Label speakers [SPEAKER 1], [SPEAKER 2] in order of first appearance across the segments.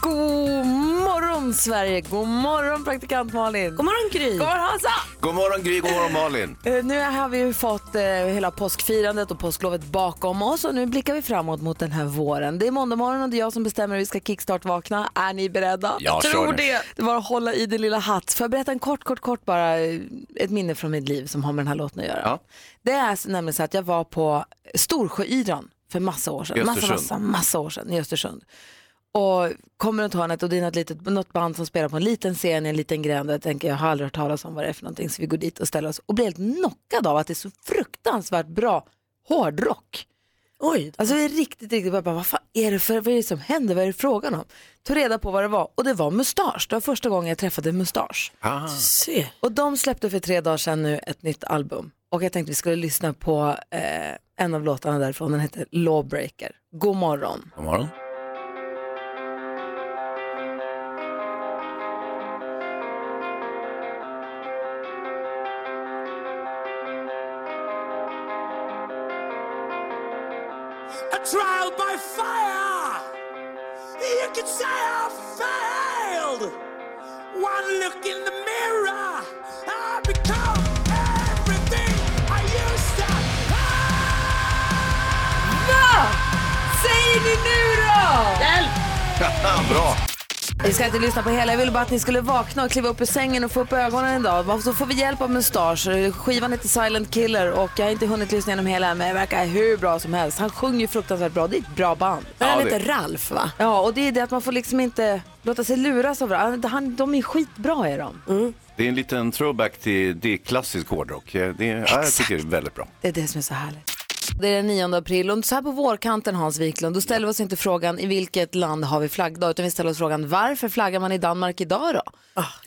[SPEAKER 1] God morgon Sverige, god morgon praktikant Malin. God morgon Gry. God morgon
[SPEAKER 2] Alltså!
[SPEAKER 1] Hansa.
[SPEAKER 3] God morgon Gry, god morgon Malin.
[SPEAKER 1] Eh, Nu har vi ju fått eh, hela påskfirandet och påsklovet bakom oss och nu blickar vi framåt mot den här våren. Det är måndag morgon och det är jag som bestämmer hur vi ska kickstart-vakna. Är ni beredda?
[SPEAKER 3] Ja, kör nu.
[SPEAKER 1] Det var att hålla i din lilla hatt. Får jag berätta en kort, kort, kort bara eh, ett minne från mitt liv som har med den här låten att göra.
[SPEAKER 3] Ja.
[SPEAKER 1] Det är alltså nämligen så att jag var på Storsjöyran för massa år
[SPEAKER 3] I
[SPEAKER 1] sedan. Massa,
[SPEAKER 3] Östersund.
[SPEAKER 1] massa, massa år sedan i Östersund. Och kommer runt hörnet och det är något, litet, något band som spelar på en liten scen i en liten gränd. Jag tänker jag har aldrig hört talas om vad det är för någonting. Så vi går dit och ställer oss och blir helt knockade av att det är så fruktansvärt bra hårdrock. Oj. Alltså vi är riktigt, riktigt bara, bara, vad fan är det för, vad är det som händer, vad är det frågan om? Tog reda på vad det var och det var mustasch. Det var första gången jag träffade mustasch.
[SPEAKER 3] Ah,
[SPEAKER 1] Och de släppte för tre dagar sedan nu ett nytt album. Och jag tänkte vi skulle lyssna på eh, en av låtarna därifrån. Den heter Lawbreaker. God morgon.
[SPEAKER 3] god morgon.
[SPEAKER 4] a trial by fire. You could say I failed. One look in the mirror, I become everything I used to.
[SPEAKER 1] Säger ni nu då?
[SPEAKER 3] Bra.
[SPEAKER 1] Vi ska inte lyssna på hela. Jag ville bara att ni skulle vakna och kliva upp ur sängen och få upp ögonen idag. Så får vi hjälp av mustasch. Skivan heter Silent Killer och jag har inte hunnit lyssna igenom hela men det verkar hur bra som helst. Han sjunger ju fruktansvärt bra. Det är ett bra band.
[SPEAKER 3] Ja,
[SPEAKER 2] heter
[SPEAKER 3] det.
[SPEAKER 2] Ralf va?
[SPEAKER 1] Ja, och det är det att man får liksom inte låta sig luras av det. Han, de är skitbra är de.
[SPEAKER 3] det är en liten throwback till det är klassisk hårdrock. Eh, Det är, ja, jag tycker det är väldigt bra.
[SPEAKER 1] Det är det som är så härligt. Det är den 9 april och så här på vårkanten Hans Wiklund, då ställer vi oss inte frågan i vilket land har vi flaggdag utan vi ställer oss frågan varför flaggar man i Danmark idag då?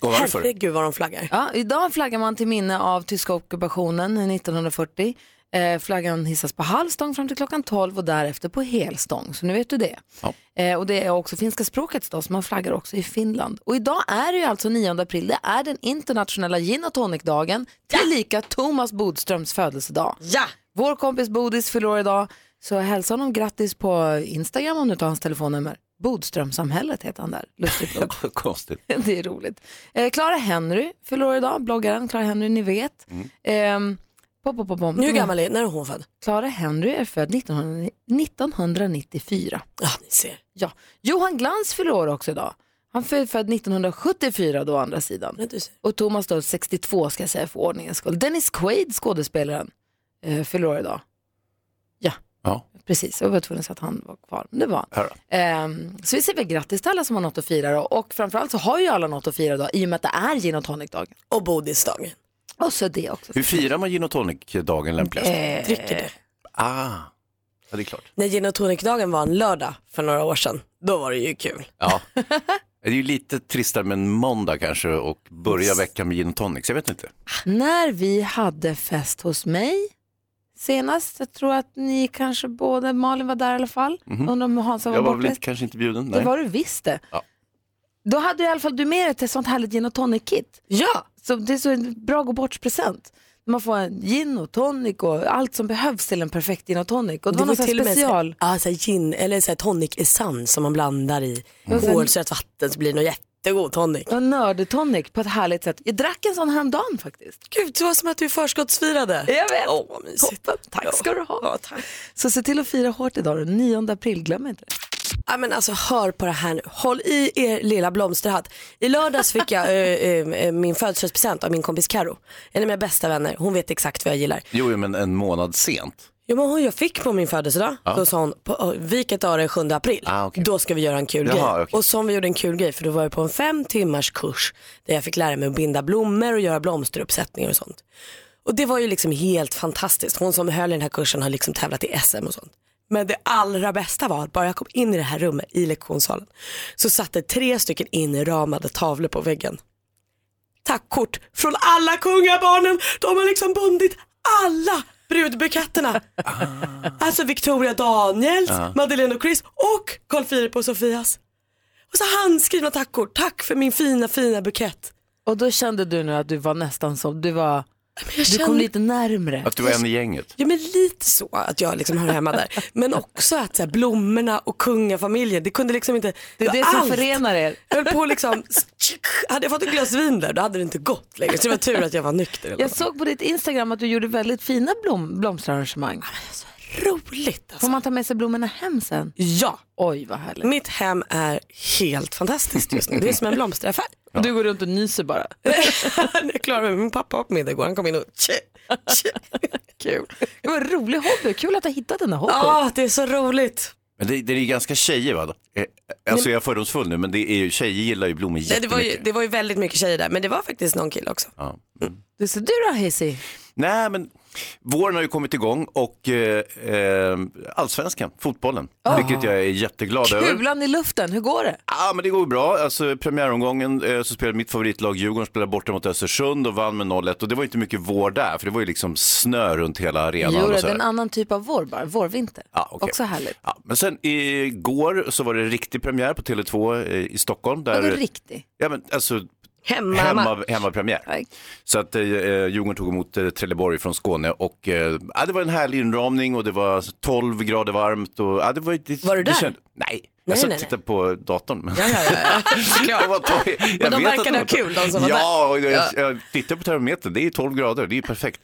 [SPEAKER 3] Och varför?
[SPEAKER 2] Herregud vad de flaggar.
[SPEAKER 1] Ja, idag flaggar man till minne av tyska ockupationen 1940. Eh, flaggan hissas på halv stång fram till klockan 12 och därefter på helstång, så nu vet du det.
[SPEAKER 3] Ja.
[SPEAKER 1] Eh, och det är också finska språkets dag, så man flaggar också i Finland. Och idag är det ju alltså 9 april, det är den internationella gin och tonic-dagen, tillika Thomas Bodströms födelsedag.
[SPEAKER 2] Ja!
[SPEAKER 1] Vår kompis Bodis fyller år idag, så hälsa honom grattis på Instagram om du tar hans telefonnummer. Bodströmsamhället heter han där, lustigt nog.
[SPEAKER 3] Konstigt.
[SPEAKER 1] Det är roligt. Eh, Clara Henry fyller år idag, bloggaren Clara Henry, ni vet. Ehm, pop, pop, pop, pop.
[SPEAKER 2] Mm. Nu hur gammal är När är hon född?
[SPEAKER 1] Clara Henry är född 1900 1994.
[SPEAKER 2] Ja, ni ser.
[SPEAKER 1] Ja. Johan Glans fyller år också idag. Han är född 1974 då, å andra sidan.
[SPEAKER 2] Ja, du ser.
[SPEAKER 1] Och Thomas då 62 ska jag säga för ordningens skull. Dennis Quaid, skådespelaren, eh, fyller år idag. Ja,
[SPEAKER 3] Ja.
[SPEAKER 1] precis. Jag var tvungen att säga att han var kvar, men det var han.
[SPEAKER 3] Här då.
[SPEAKER 1] Ehm, så vi säger väl grattis till alla som har något att fira då. Och framförallt så har ju alla något att fira då i och med att det är gin och tonic-dagen.
[SPEAKER 2] Och Bodisdagen.
[SPEAKER 1] Och så det också.
[SPEAKER 3] Hur firar man gin och tonic-dagen lämpligast?
[SPEAKER 2] Eh, Dricker det.
[SPEAKER 3] Ah, ja, det är klart.
[SPEAKER 2] När gin och tonic-dagen var en lördag för några år sedan, då var det ju kul.
[SPEAKER 3] Ja. Det är ju lite tristare med en måndag kanske och börja veckan med gin och tonic. Jag vet inte.
[SPEAKER 1] När vi hade fest hos mig senast, jag tror att ni kanske båda, Malin var där i alla fall. Undrar om Hansa var
[SPEAKER 3] Mhm. Jag var väl
[SPEAKER 1] bortrest.
[SPEAKER 3] inte, kanske inte bjuden.
[SPEAKER 1] Det
[SPEAKER 3] Nej.
[SPEAKER 1] var du visst det.
[SPEAKER 3] Ja.
[SPEAKER 1] Då hade du i alla fall du med dig ett sånt härligt gin och tonic-kit. Ja! Så det är så en bra gå bort-present. Man får en gin och tonic och allt som behövs till en perfekt gin och tonic. Och det, var någon sån här special.
[SPEAKER 2] Ja, så här gin, eller så här tonic essens som man blandar i
[SPEAKER 1] sen-
[SPEAKER 2] kolsyrat vatten så blir det någon jättegod tonic.
[SPEAKER 1] Och nördtonic på ett härligt sätt. Jag drack en sån häromdagen faktiskt.
[SPEAKER 2] Gud, det var som att du förskottsfirade.
[SPEAKER 1] Jag vet.
[SPEAKER 2] Åh, vad mysigt.
[SPEAKER 1] Toppen. Tack ska du ha.
[SPEAKER 2] Ja, tack.
[SPEAKER 1] Så se till att fira hårt idag den 9 april, glöm inte det.
[SPEAKER 2] Ja, men alltså, hör på det här nu. Håll i er lilla blomsterhatt. I lördags fick jag eh, eh, eh, min födelsedagspresent av min kompis Karo. En av mina bästa vänner. Hon vet exakt vad jag gillar.
[SPEAKER 3] Jo, jo, men en månad sent.
[SPEAKER 2] Ja, men hon jag fick på min födelsedag, då sa hon, på, oh, vilket dag är det 7 april?
[SPEAKER 3] Ah, okej.
[SPEAKER 2] Då ska vi göra en kul
[SPEAKER 3] Jaha,
[SPEAKER 2] grej.
[SPEAKER 3] okej.
[SPEAKER 2] Och som vi gjorde en kul grej, för då var jag på en fem timmars kurs där jag fick lära mig att binda blommor och göra blomsteruppsättningar och sånt. Och det var ju liksom helt fantastiskt. Hon som höll i den här kursen har liksom tävlat i SM och sånt. Men det allra bästa var att bara jag kom in i det här rummet i lektionssalen så satt det tre stycken inramade tavlor på väggen. tackkort från alla kungabarnen. De har liksom bundit alla brudbuketterna.
[SPEAKER 3] Ah.
[SPEAKER 2] Alltså Victoria Daniels, Madeleine och Chris och Carl Philip och Sofias. Och så handskrivna tackkort. Tack för min fina, fina bukett.
[SPEAKER 1] Och då kände du nu att du var nästan som, du var,
[SPEAKER 2] Jag
[SPEAKER 1] du kom
[SPEAKER 2] känner-
[SPEAKER 1] lite närmre.
[SPEAKER 3] Att du var en i gänget.
[SPEAKER 2] Ja men lite så att jag liksom hör hemma där. Men också att så här, blommorna och kungafamiljen, det kunde liksom inte...
[SPEAKER 1] Det är det som
[SPEAKER 2] allt.
[SPEAKER 1] förenar er.
[SPEAKER 2] Jag höll på liksom, hade jag fått ett glas vin där då hade det inte gått längre. Så det var tur att jag var nykter. Eller
[SPEAKER 1] Jag
[SPEAKER 2] så
[SPEAKER 1] såg på ditt Instagram att du gjorde väldigt fina blom, blomsterarrangemang.
[SPEAKER 2] roligt
[SPEAKER 1] Får
[SPEAKER 2] alltså.
[SPEAKER 1] man ta med sig blommorna hem sen?
[SPEAKER 2] Ja,
[SPEAKER 1] Oj vad härligt.
[SPEAKER 2] mitt hem är helt fantastiskt just nu. Det är som en blomsteraffär.
[SPEAKER 1] Du går runt och nyser bara.
[SPEAKER 2] jag klarar mig. Min pappa var på middag igår, han kom in och tje, tje. Kul.
[SPEAKER 1] Det var en rolig hobby, kul att du har hittat den här hobbyn.
[SPEAKER 2] Ja, det är så roligt.
[SPEAKER 3] Men det, det är ju ganska tjejer va? Eh, Alltså jag är fördomsfull nu men det är ju, tjejer gillar ju blommor
[SPEAKER 2] Nej, det, var ju,
[SPEAKER 3] jättemycket.
[SPEAKER 2] det var ju väldigt mycket tjejer där, men det var faktiskt någon kille också.
[SPEAKER 3] Ja. Mm.
[SPEAKER 1] Du, så du då Hissi?
[SPEAKER 3] Nej men våren har ju kommit igång och eh, eh, allsvenskan, fotbollen,
[SPEAKER 2] Ah.
[SPEAKER 3] vilket jag är jätteglad över.
[SPEAKER 1] Kulan i luften, hur går det?
[SPEAKER 3] Ja, men det går bra. Alltså, premiäromgången eh, så spelade mitt favoritlag Djurgården spelade borta mot Östersund och vann med 0-1 och det var ju inte mycket vår där för det var ju liksom snö runt hela arenan.
[SPEAKER 1] Jo, det
[SPEAKER 3] och
[SPEAKER 1] är
[SPEAKER 3] så här.
[SPEAKER 1] en annan typ av vår bara, vårvinter.
[SPEAKER 3] Ja, okej.
[SPEAKER 1] Också härligt.
[SPEAKER 3] Ja, men sen igår så var det riktig premiär på Tele2 eh, i Stockholm. Där,
[SPEAKER 1] Vadå riktig?
[SPEAKER 3] Ja, men alltså
[SPEAKER 2] Hemma.
[SPEAKER 3] hemma, hemmapremiär.
[SPEAKER 1] Nej.
[SPEAKER 3] Så att eh, Djurgården tog emot eh, Trelleborg från Skåne och eh, ja, det var en härlig inramning och det var 12 grader varmt. Och, ja, det var, ju- det,
[SPEAKER 2] Var du
[SPEAKER 3] det
[SPEAKER 2] där?
[SPEAKER 3] känd- nej, jag satt och
[SPEAKER 2] nej, nej.
[SPEAKER 3] tittade på datorn.
[SPEAKER 2] Ja, ja, ja, ja.
[SPEAKER 3] Jag var toj- jag
[SPEAKER 2] de
[SPEAKER 3] vet
[SPEAKER 2] verkade
[SPEAKER 3] att var
[SPEAKER 2] ha kul, de som var
[SPEAKER 3] ja, och jag, jag tittar på termometern, det är 12 grader, det är perfekt.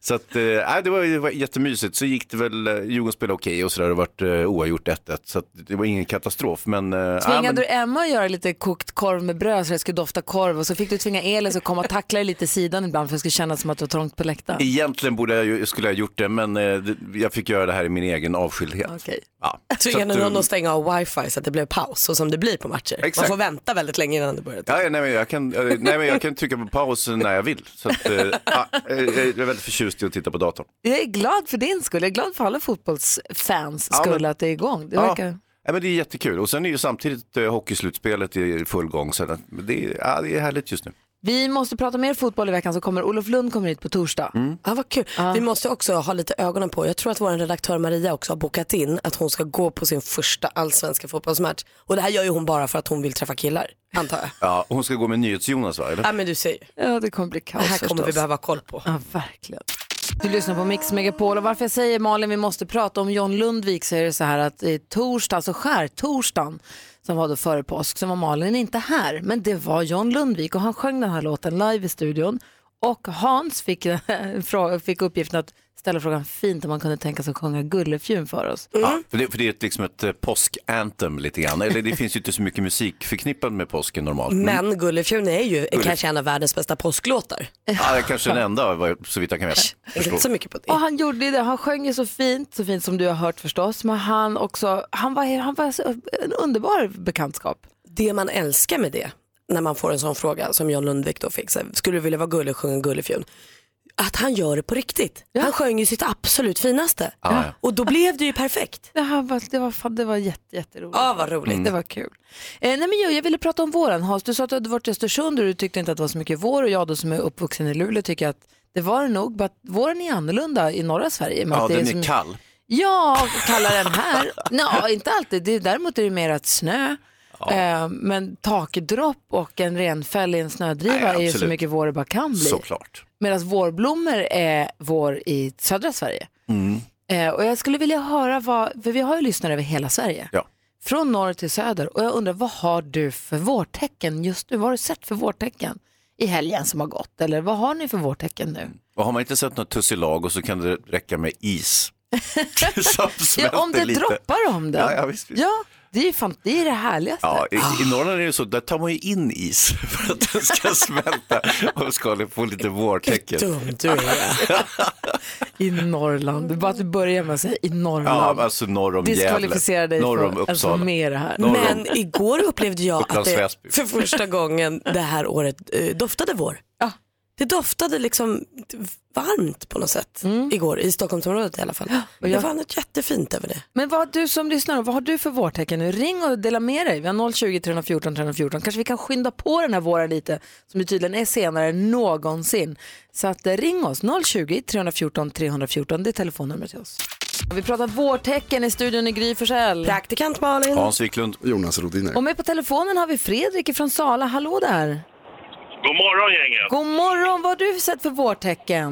[SPEAKER 3] Så att, eh, nej, det, var, det var jättemysigt. Så gick det väl, eh, Djurgården spelade okej och sådär, det vart eh, oavgjort 1-1. Så att, det var ingen katastrof. Men, eh, ja,
[SPEAKER 1] Tvingade
[SPEAKER 3] men,
[SPEAKER 1] du Emma att göra lite kokt korv med bröd så det skulle dofta korv och så fick du tvinga Elis att komma och tackla dig lite i sidan ibland för det skulle kännas som att du var trångt på läktaren?
[SPEAKER 3] Egentligen borde jag, ju- skulle jag ha gjort det, men eh, det- jag fick göra det här i min egen avskildhet.
[SPEAKER 1] Okej.
[SPEAKER 3] Ja. Så
[SPEAKER 2] Tvingade
[SPEAKER 3] att,
[SPEAKER 2] någon
[SPEAKER 3] eh,
[SPEAKER 2] att stänga av wifi så att det blev paus, så som det blir på matcher. Man
[SPEAKER 3] Exakt.
[SPEAKER 2] får vänta väldigt länge innan det börjar.
[SPEAKER 3] Ja, ja, nej, men jag kan, eh, nej, men jag kan trycka på paus när jag vill. Så att, eh, ja, eh, jag är väldigt förtjust i att titta på datorn.
[SPEAKER 1] Jag är glad för din skull, jag är glad för alla fotbollsfans
[SPEAKER 3] Ja,
[SPEAKER 1] skull
[SPEAKER 3] men-
[SPEAKER 1] att det är igång. Det verkar...
[SPEAKER 3] Ja, men det är jättekul och sen är ju samtidigt eh, hockeyslutspelet i full gång. Så att det, är, ja, det är härligt just nu.
[SPEAKER 1] Vi måste prata mer fotboll i veckan så kommer Olof Lund kommer hit på torsdag.
[SPEAKER 2] Mm. Ja, vad kul. Vi måste också ha lite ögonen på, jag tror att vår redaktör Maria också har bokat in att hon ska gå på sin första allsvenska fotbollsmatch. Och det här gör ju hon bara för att hon vill träffa killar, antar jag.
[SPEAKER 3] Ja, hon ska gå med NyhetsJonas va? Eller?
[SPEAKER 2] Ja, men du ser ju.
[SPEAKER 1] Ja, det kommer bli kaos
[SPEAKER 2] Det här kommer
[SPEAKER 1] förstås.
[SPEAKER 2] vi behöva ha koll på.
[SPEAKER 1] Ja, verkligen. Du lyssnar på Mix Megapol och varför jag säger Malin vi måste prata om John Lundvik så är det så här att i torsdag, alltså skärtorsdagen som var då före påsk så var Malin inte här men det var John Lundvik och han sjöng den här låten live i studion och Hans fick, frå- fick uppgiften att ställa frågan fint om man kunde tänka sig att sjunga Gullefjun för oss.
[SPEAKER 2] Mm.
[SPEAKER 3] Ja, för, det, för det är ett, liksom ett eh, påskanthem lite grann. Eller det finns ju inte så mycket musik förknippat med påsken normalt.
[SPEAKER 2] Men Gullefjun är ju kanske en av världens bästa påsklåtar.
[SPEAKER 3] Ja, det är kanske den enda vad- så vitt jag kan veta.
[SPEAKER 2] Jag vet
[SPEAKER 3] Förstå.
[SPEAKER 2] inte så mycket på
[SPEAKER 1] Och
[SPEAKER 2] det.
[SPEAKER 1] han gjorde ju det, han sjöng ju så fint, så fint som du har hört förstås, men han också, han var, han var så- en underbar bekantskap.
[SPEAKER 2] Det man älskar med det, när man får en sån fråga som John Lundvik då fick, så här, skulle du vilja vara gullig och sjunga Gullefjun? Att han gör det på riktigt. Han sjöng ju sitt absolut finaste.
[SPEAKER 3] Ja, ja.
[SPEAKER 2] Och då blev det ju perfekt.
[SPEAKER 1] Det, här var, det var, fan, det var jätte, jätteroligt.
[SPEAKER 2] Ja, vad
[SPEAKER 3] Mm.
[SPEAKER 2] roligt.
[SPEAKER 1] Det var kul. Eh, nej, men jag, jag ville prata om våren. Hans, du sa att du hade varit i Östersund och du tyckte inte att det var så mycket vår och jag då som är uppvuxen i Luleå tycker att det var det nog. Bara att våren är annorlunda i norra Sverige. med
[SPEAKER 3] ja
[SPEAKER 1] att det
[SPEAKER 3] den
[SPEAKER 1] som-
[SPEAKER 3] är kall.
[SPEAKER 1] Ja, kallar den här. Nå, inte alltid. Det, däremot är det mer att snö. Eh, men takdropp och en renfäll i en snödriva
[SPEAKER 3] Nej,
[SPEAKER 1] är ju så
[SPEAKER 3] absolut.
[SPEAKER 1] mycket vår det bara kan bli.
[SPEAKER 3] Såklart.
[SPEAKER 1] Medan vårblommor är vår i södra Sverige.
[SPEAKER 3] Mm.
[SPEAKER 1] Eh, och jag skulle vilja höra vad, för vi har ju lyssnare över hela Sverige.
[SPEAKER 3] Ja.
[SPEAKER 1] Från norr till söder. Och jag undrar, vad har du för vårtecken just nu? Vad har du sett för vårtecken i helgen som har gått? Eller vad har ni för vårtecken nu?
[SPEAKER 3] Och har man inte sett något tussilago så kan det räcka med is.
[SPEAKER 1] Ja,
[SPEAKER 3] Som
[SPEAKER 1] om det
[SPEAKER 3] smälter lite.
[SPEAKER 1] droppar om det.
[SPEAKER 3] Ja, ja, visst, visst.
[SPEAKER 1] Ja, det är ju fan, det, är det härligaste. Ah,
[SPEAKER 3] Ja, i, I Norrland är det så, där tar man ju in is för att den ska smälta och ska få lite vårtecken.
[SPEAKER 2] Dum du är.
[SPEAKER 1] I Norrland. Det är bara att du börjar med att säga i
[SPEAKER 3] Ja,
[SPEAKER 1] Norrland.
[SPEAKER 3] alltså norr om
[SPEAKER 1] Diskvalificera
[SPEAKER 3] Gävle,
[SPEAKER 1] dig
[SPEAKER 3] norr om
[SPEAKER 1] för att få
[SPEAKER 3] Uppsala.
[SPEAKER 1] med det Alltså, här.
[SPEAKER 3] Norr om-
[SPEAKER 2] Men igår upplevde jag alltså, att
[SPEAKER 3] Upplands
[SPEAKER 2] det
[SPEAKER 3] Väsby.
[SPEAKER 2] för första gången det här året eh, doftade vår.
[SPEAKER 1] Ja.
[SPEAKER 2] Det doftade liksom varmt på något sätt
[SPEAKER 1] Mm.
[SPEAKER 2] igår i Stockholmsområdet i alla fall.
[SPEAKER 1] och jag-
[SPEAKER 2] Det var något jättefint över det.
[SPEAKER 1] Men vad har du som lyssnar, vad har du för vårtecken nu? Ring och dela med dig. Vi har 020 314 314. Kanske vi kan skynda på den här våren lite, som ju tydligen är senare än någonsin. Så att, eh, ring oss, 020 314 314. Det är telefonnumret till oss. Vi pratar vårtecken i studion i Gry Forssell.
[SPEAKER 2] Praktikant Malin.
[SPEAKER 3] Hans Wiklund.
[SPEAKER 5] Jonas Rodiner.
[SPEAKER 1] Och med på telefonen har vi Fredrik från Sala. Hallå där!
[SPEAKER 6] God morgon gänget!
[SPEAKER 1] God morgon, vad har du sett för vårtecken?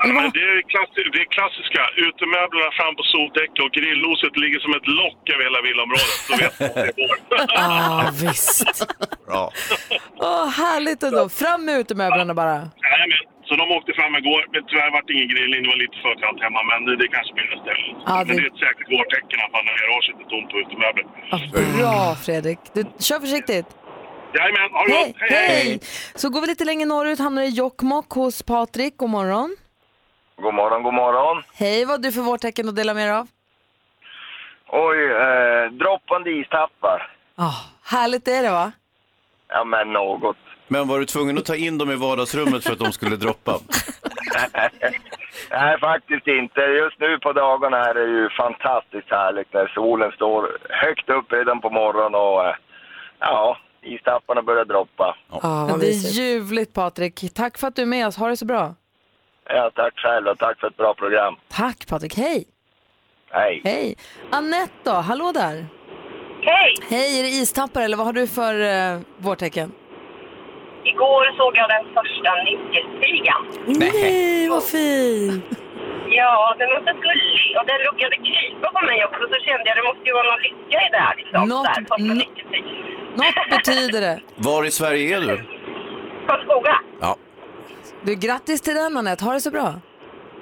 [SPEAKER 1] Eller vad-
[SPEAKER 6] Men Det är, klass- det är klassiska. Utemöblerna fram på soldäck och grillloset ligger som ett lock över hela villaområdet. Då vet man att det är vår.
[SPEAKER 1] Ja, visst.
[SPEAKER 3] Bra.
[SPEAKER 1] Åh, härligt ändå. Fram med utemöblerna bara.
[SPEAKER 6] Nej, men, så de åkte fram igår. Men tyvärr vart det ingen grillning. Det var lite för kallt hemma. Men det, det kanske blir nästa helg.
[SPEAKER 1] Ja, det-
[SPEAKER 6] Men det är ett säkert vårtecken att man har garaget är tomt på utemöbler.
[SPEAKER 1] Ja, Alltså, Bra Fredrik. Du, kör försiktigt.
[SPEAKER 6] Jajamän, ha det
[SPEAKER 1] Hej,
[SPEAKER 6] gott!
[SPEAKER 1] hej! Så går vi lite längre norrut, hamnar i Jokkmokk hos Patrik. God morgon.
[SPEAKER 7] God morgon, god morgon.
[SPEAKER 1] Hej, vad har du för vårtecken att dela med dig av?
[SPEAKER 7] Oj, eh, droppande istappar.
[SPEAKER 1] Ah, härligt är det va?
[SPEAKER 7] Ja, men något.
[SPEAKER 3] Men var du tvungen att ta in dem i vardagsrummet för att de skulle droppa?
[SPEAKER 7] Nej, faktiskt inte. Just nu på dagarna här är det ju fantastiskt härligt när solen står högt upp redan på morgonen och eh, ja, istapparna börjar droppa.
[SPEAKER 2] Ja, vad
[SPEAKER 1] det är
[SPEAKER 2] mysigt.
[SPEAKER 1] ljuvligt Patrik. Tack för att du är med oss. Ha det så bra.
[SPEAKER 7] Ja, tack själv och tack för ett bra program.
[SPEAKER 1] Tack Patrik, hej!
[SPEAKER 7] Hej!
[SPEAKER 1] Hej! Anette då, hallå där!
[SPEAKER 6] Hej!
[SPEAKER 1] Hej, är det istappar eller vad har du för eh, vårtecken?
[SPEAKER 6] Igår såg jag den första nyckelpigan.
[SPEAKER 2] Nej, vad fint.
[SPEAKER 6] Ja, den var så gullig och den råkade krypa på mig också så kände jag det måste ju vara någon lycka i det här liksom.
[SPEAKER 1] Något-
[SPEAKER 6] Där, första
[SPEAKER 1] nå-
[SPEAKER 6] nyckelpigan.
[SPEAKER 1] Något betyder det.
[SPEAKER 3] Var i Sverige är du?
[SPEAKER 6] Karlskoga.
[SPEAKER 3] Ja.
[SPEAKER 1] Du, grattis till den Anette, ha det så bra.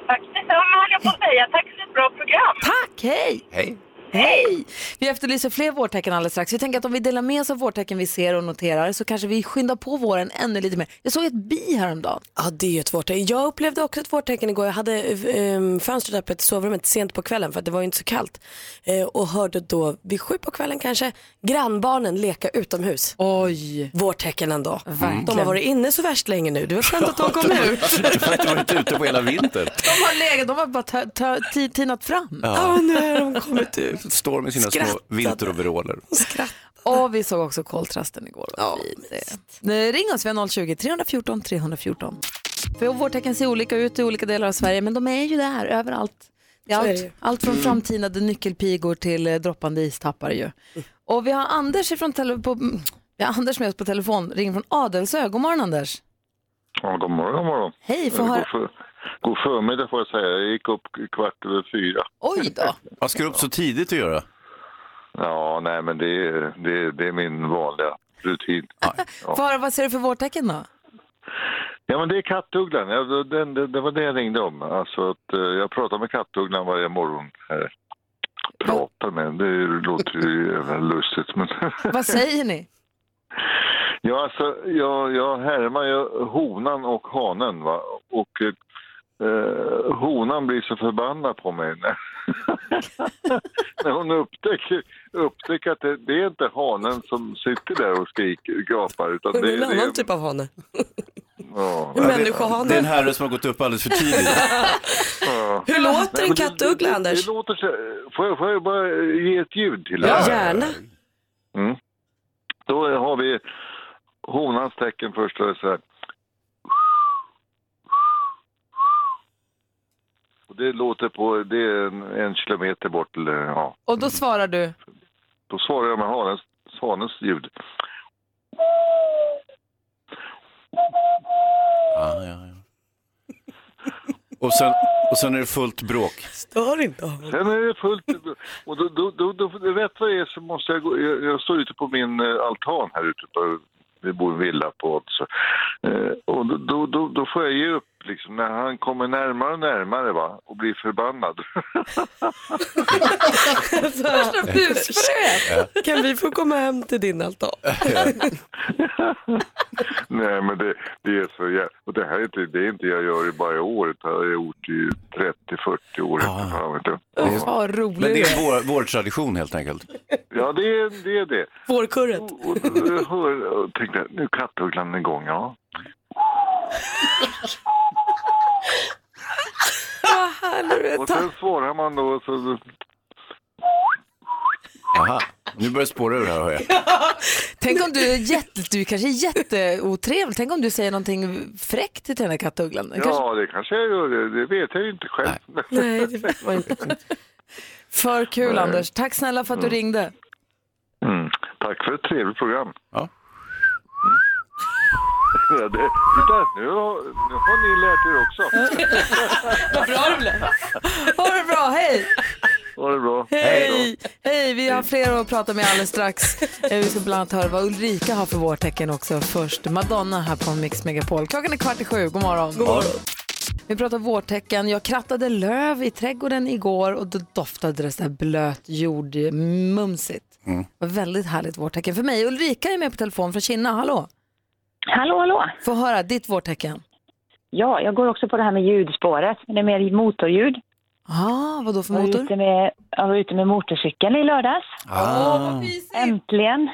[SPEAKER 6] Tack detsamma höll jag på att säga. Tack för ett bra program.
[SPEAKER 1] Tack, hej!
[SPEAKER 3] Hej.
[SPEAKER 1] Hej! Vi efterlyser fler vårtecken alldeles strax. Vi tänker att om vi delar med oss av vårtecken vi ser och noterar så kanske vi skyndar på våren ännu lite mer. Jag såg ett bi häromdagen.
[SPEAKER 2] Ja, det är ju ett vårtecken. Jag upplevde också ett vårtecken igår. Jag hade eh, fönstret öppet i sovrummet sent på kvällen för att det var ju inte så kallt. Eh, och hörde då vid sju på kvällen kanske grannbarnen leka utomhus.
[SPEAKER 1] Oj!
[SPEAKER 2] Vårtecken ändå.
[SPEAKER 1] Verkligen.
[SPEAKER 2] De har varit inne så värst länge nu. Det var skönt att de kom ut.
[SPEAKER 3] Du har inte varit ute på hela vintern.
[SPEAKER 1] De har legat, de har bara tö- tö- ti- tinat fram.
[SPEAKER 2] Ja, nu har de kommit ut.
[SPEAKER 3] Står med sina små
[SPEAKER 2] Skrattade.
[SPEAKER 3] vinteroveraller.
[SPEAKER 2] Skratt.
[SPEAKER 1] Och vi såg också koltrasten igår. Ja, Ring oss, vi har 020 314 314. För vårtecken ser olika ut i olika delar av Sverige, men de är ju där överallt. Det är
[SPEAKER 2] Så är
[SPEAKER 1] allt,
[SPEAKER 2] det ju.
[SPEAKER 1] allt från framtinade nyckelpigor till eh, droppande istappar ju. Och vi har Anders, ifrån tele- på, mm, vi har Anders med oss på telefon, ringer från Adelsö. God morgon Anders.
[SPEAKER 6] Ja, god morgon, god morgon.
[SPEAKER 1] Hej, får höra.
[SPEAKER 6] för, god förmiddag får jag säga. Jag gick upp kvart över fyra.
[SPEAKER 1] Oj då.
[SPEAKER 3] Vad ska du upp så tidigt att göra?
[SPEAKER 6] Ja, nej men det är, det är, det är min vanliga rutin.
[SPEAKER 1] Får höra, vad ser du för vårtecken då?
[SPEAKER 6] Ja, men det är kattugglan. Ja, det, det, det, det var det jag ringde om. Alltså att eh, jag pratar med kattugglan varje morgon. Här. Pratar med den. Det låter ju jävla lustigt. Men...
[SPEAKER 1] Vad säger ni?
[SPEAKER 6] Ja, alltså, jag, jag härmar ju honan och hanen. Va? Och eh, eh, honan blir så förbannad på mig när, när hon upptäcker, upptäcker att det, det är inte hanen som sitter där och skriker gapar. Utan
[SPEAKER 2] Det
[SPEAKER 6] det,
[SPEAKER 2] är en annan
[SPEAKER 6] det,
[SPEAKER 2] typ av hane.
[SPEAKER 6] ja,
[SPEAKER 2] En
[SPEAKER 3] Det är en
[SPEAKER 2] människohane.
[SPEAKER 3] herre som har gått upp alldeles för tidigt.
[SPEAKER 6] ja.
[SPEAKER 2] Hur låter
[SPEAKER 6] Nej,
[SPEAKER 2] en
[SPEAKER 6] men det-
[SPEAKER 2] kattuggla
[SPEAKER 6] det-
[SPEAKER 2] Anders?
[SPEAKER 6] Det låter så, får, jag, får jag bara ge ett ljud till?
[SPEAKER 2] Ja,
[SPEAKER 6] det? Mm.
[SPEAKER 2] gärna.
[SPEAKER 6] Då har vi honans tecken först. Då är det så här. Och det låter på, det är en, en kilometer bort. Eller, ja.
[SPEAKER 1] Och då svarar du,
[SPEAKER 6] Då svarar jag med hanens, hanens ljud.
[SPEAKER 3] Ja, ja, ja. Och, sen, och sen är det fullt bråk.
[SPEAKER 2] Stör inte honom.
[SPEAKER 6] Sen är det fullt. Och då, då, då, då, rätt vad det är så måste jag gå. Jag, jag står ute på min eh, altan här ute. På, vi bor i en villa på så, eh, Och då, då, då, då får jag ge upp liksom. När han kommer närmare och närmare va. Och blir förbannad.
[SPEAKER 1] värsta busfröet.
[SPEAKER 2] Kan vi få komma hem till din altan?
[SPEAKER 6] Nej, men det, det är så jä- Och det här är inte, det är inte jag gör i varje år, utan jag har gjort i 30-40 år. Ah. Vet du.
[SPEAKER 1] Vad rolig
[SPEAKER 3] Men det
[SPEAKER 1] du
[SPEAKER 3] är
[SPEAKER 1] är.
[SPEAKER 3] vår, vår tradition helt enkelt.
[SPEAKER 6] Ja, det är det. Är det.
[SPEAKER 2] Fårkurret.
[SPEAKER 6] Och, och, och, hör- och tänkte, nu är kattugglan igång, ja. Och sen svarar man då och så...
[SPEAKER 3] Aha, nu börjar det spåra ur här hör jag.
[SPEAKER 1] Tänk om du är jätte, du kanske är jätteotrevlig. Tänk om du säger någonting fräckt till den här kattugglan. Den kanske
[SPEAKER 6] Ja, det kanske jag gör. Det, det vet jag ju inte själv.
[SPEAKER 2] Nej, det var inte.
[SPEAKER 1] För kul Anders. Tack snälla för att du ringde.
[SPEAKER 6] Mm. Tack för ett trevligt program. Mm.
[SPEAKER 3] Ja.
[SPEAKER 6] Ja, det, titta, nu, har, nu har ni lärt er också.
[SPEAKER 1] Ha det bra, hej!
[SPEAKER 6] Ha det bra.
[SPEAKER 1] Hej! Hej, vi har fler att prata med alldeles strax. Eh, Vi ska bland annat höra vad Ulrika har för vårtecken också. Först Madonna här på Mix Megapol. Klockan är kvart i sju, god morgon. God morgon. Vi pratar vårtecken. Jag krattade löv i trädgården igår och då doftade det så här blöt jord, mumsigt. Det var väldigt härligt vårtecken för mig. Ulrika är med på telefon från Kina, hallå!
[SPEAKER 5] Hallå, hallå!
[SPEAKER 1] Få höra ditt vårtecken.
[SPEAKER 5] Ja, jag går också på det här med ljudspåret, men det är mer motorljud.
[SPEAKER 1] Ah, vad då för
[SPEAKER 5] Jag var
[SPEAKER 1] motor?
[SPEAKER 5] ute med, jag var ute med motorcykeln i lördags.
[SPEAKER 3] Ah.
[SPEAKER 5] Äntligen!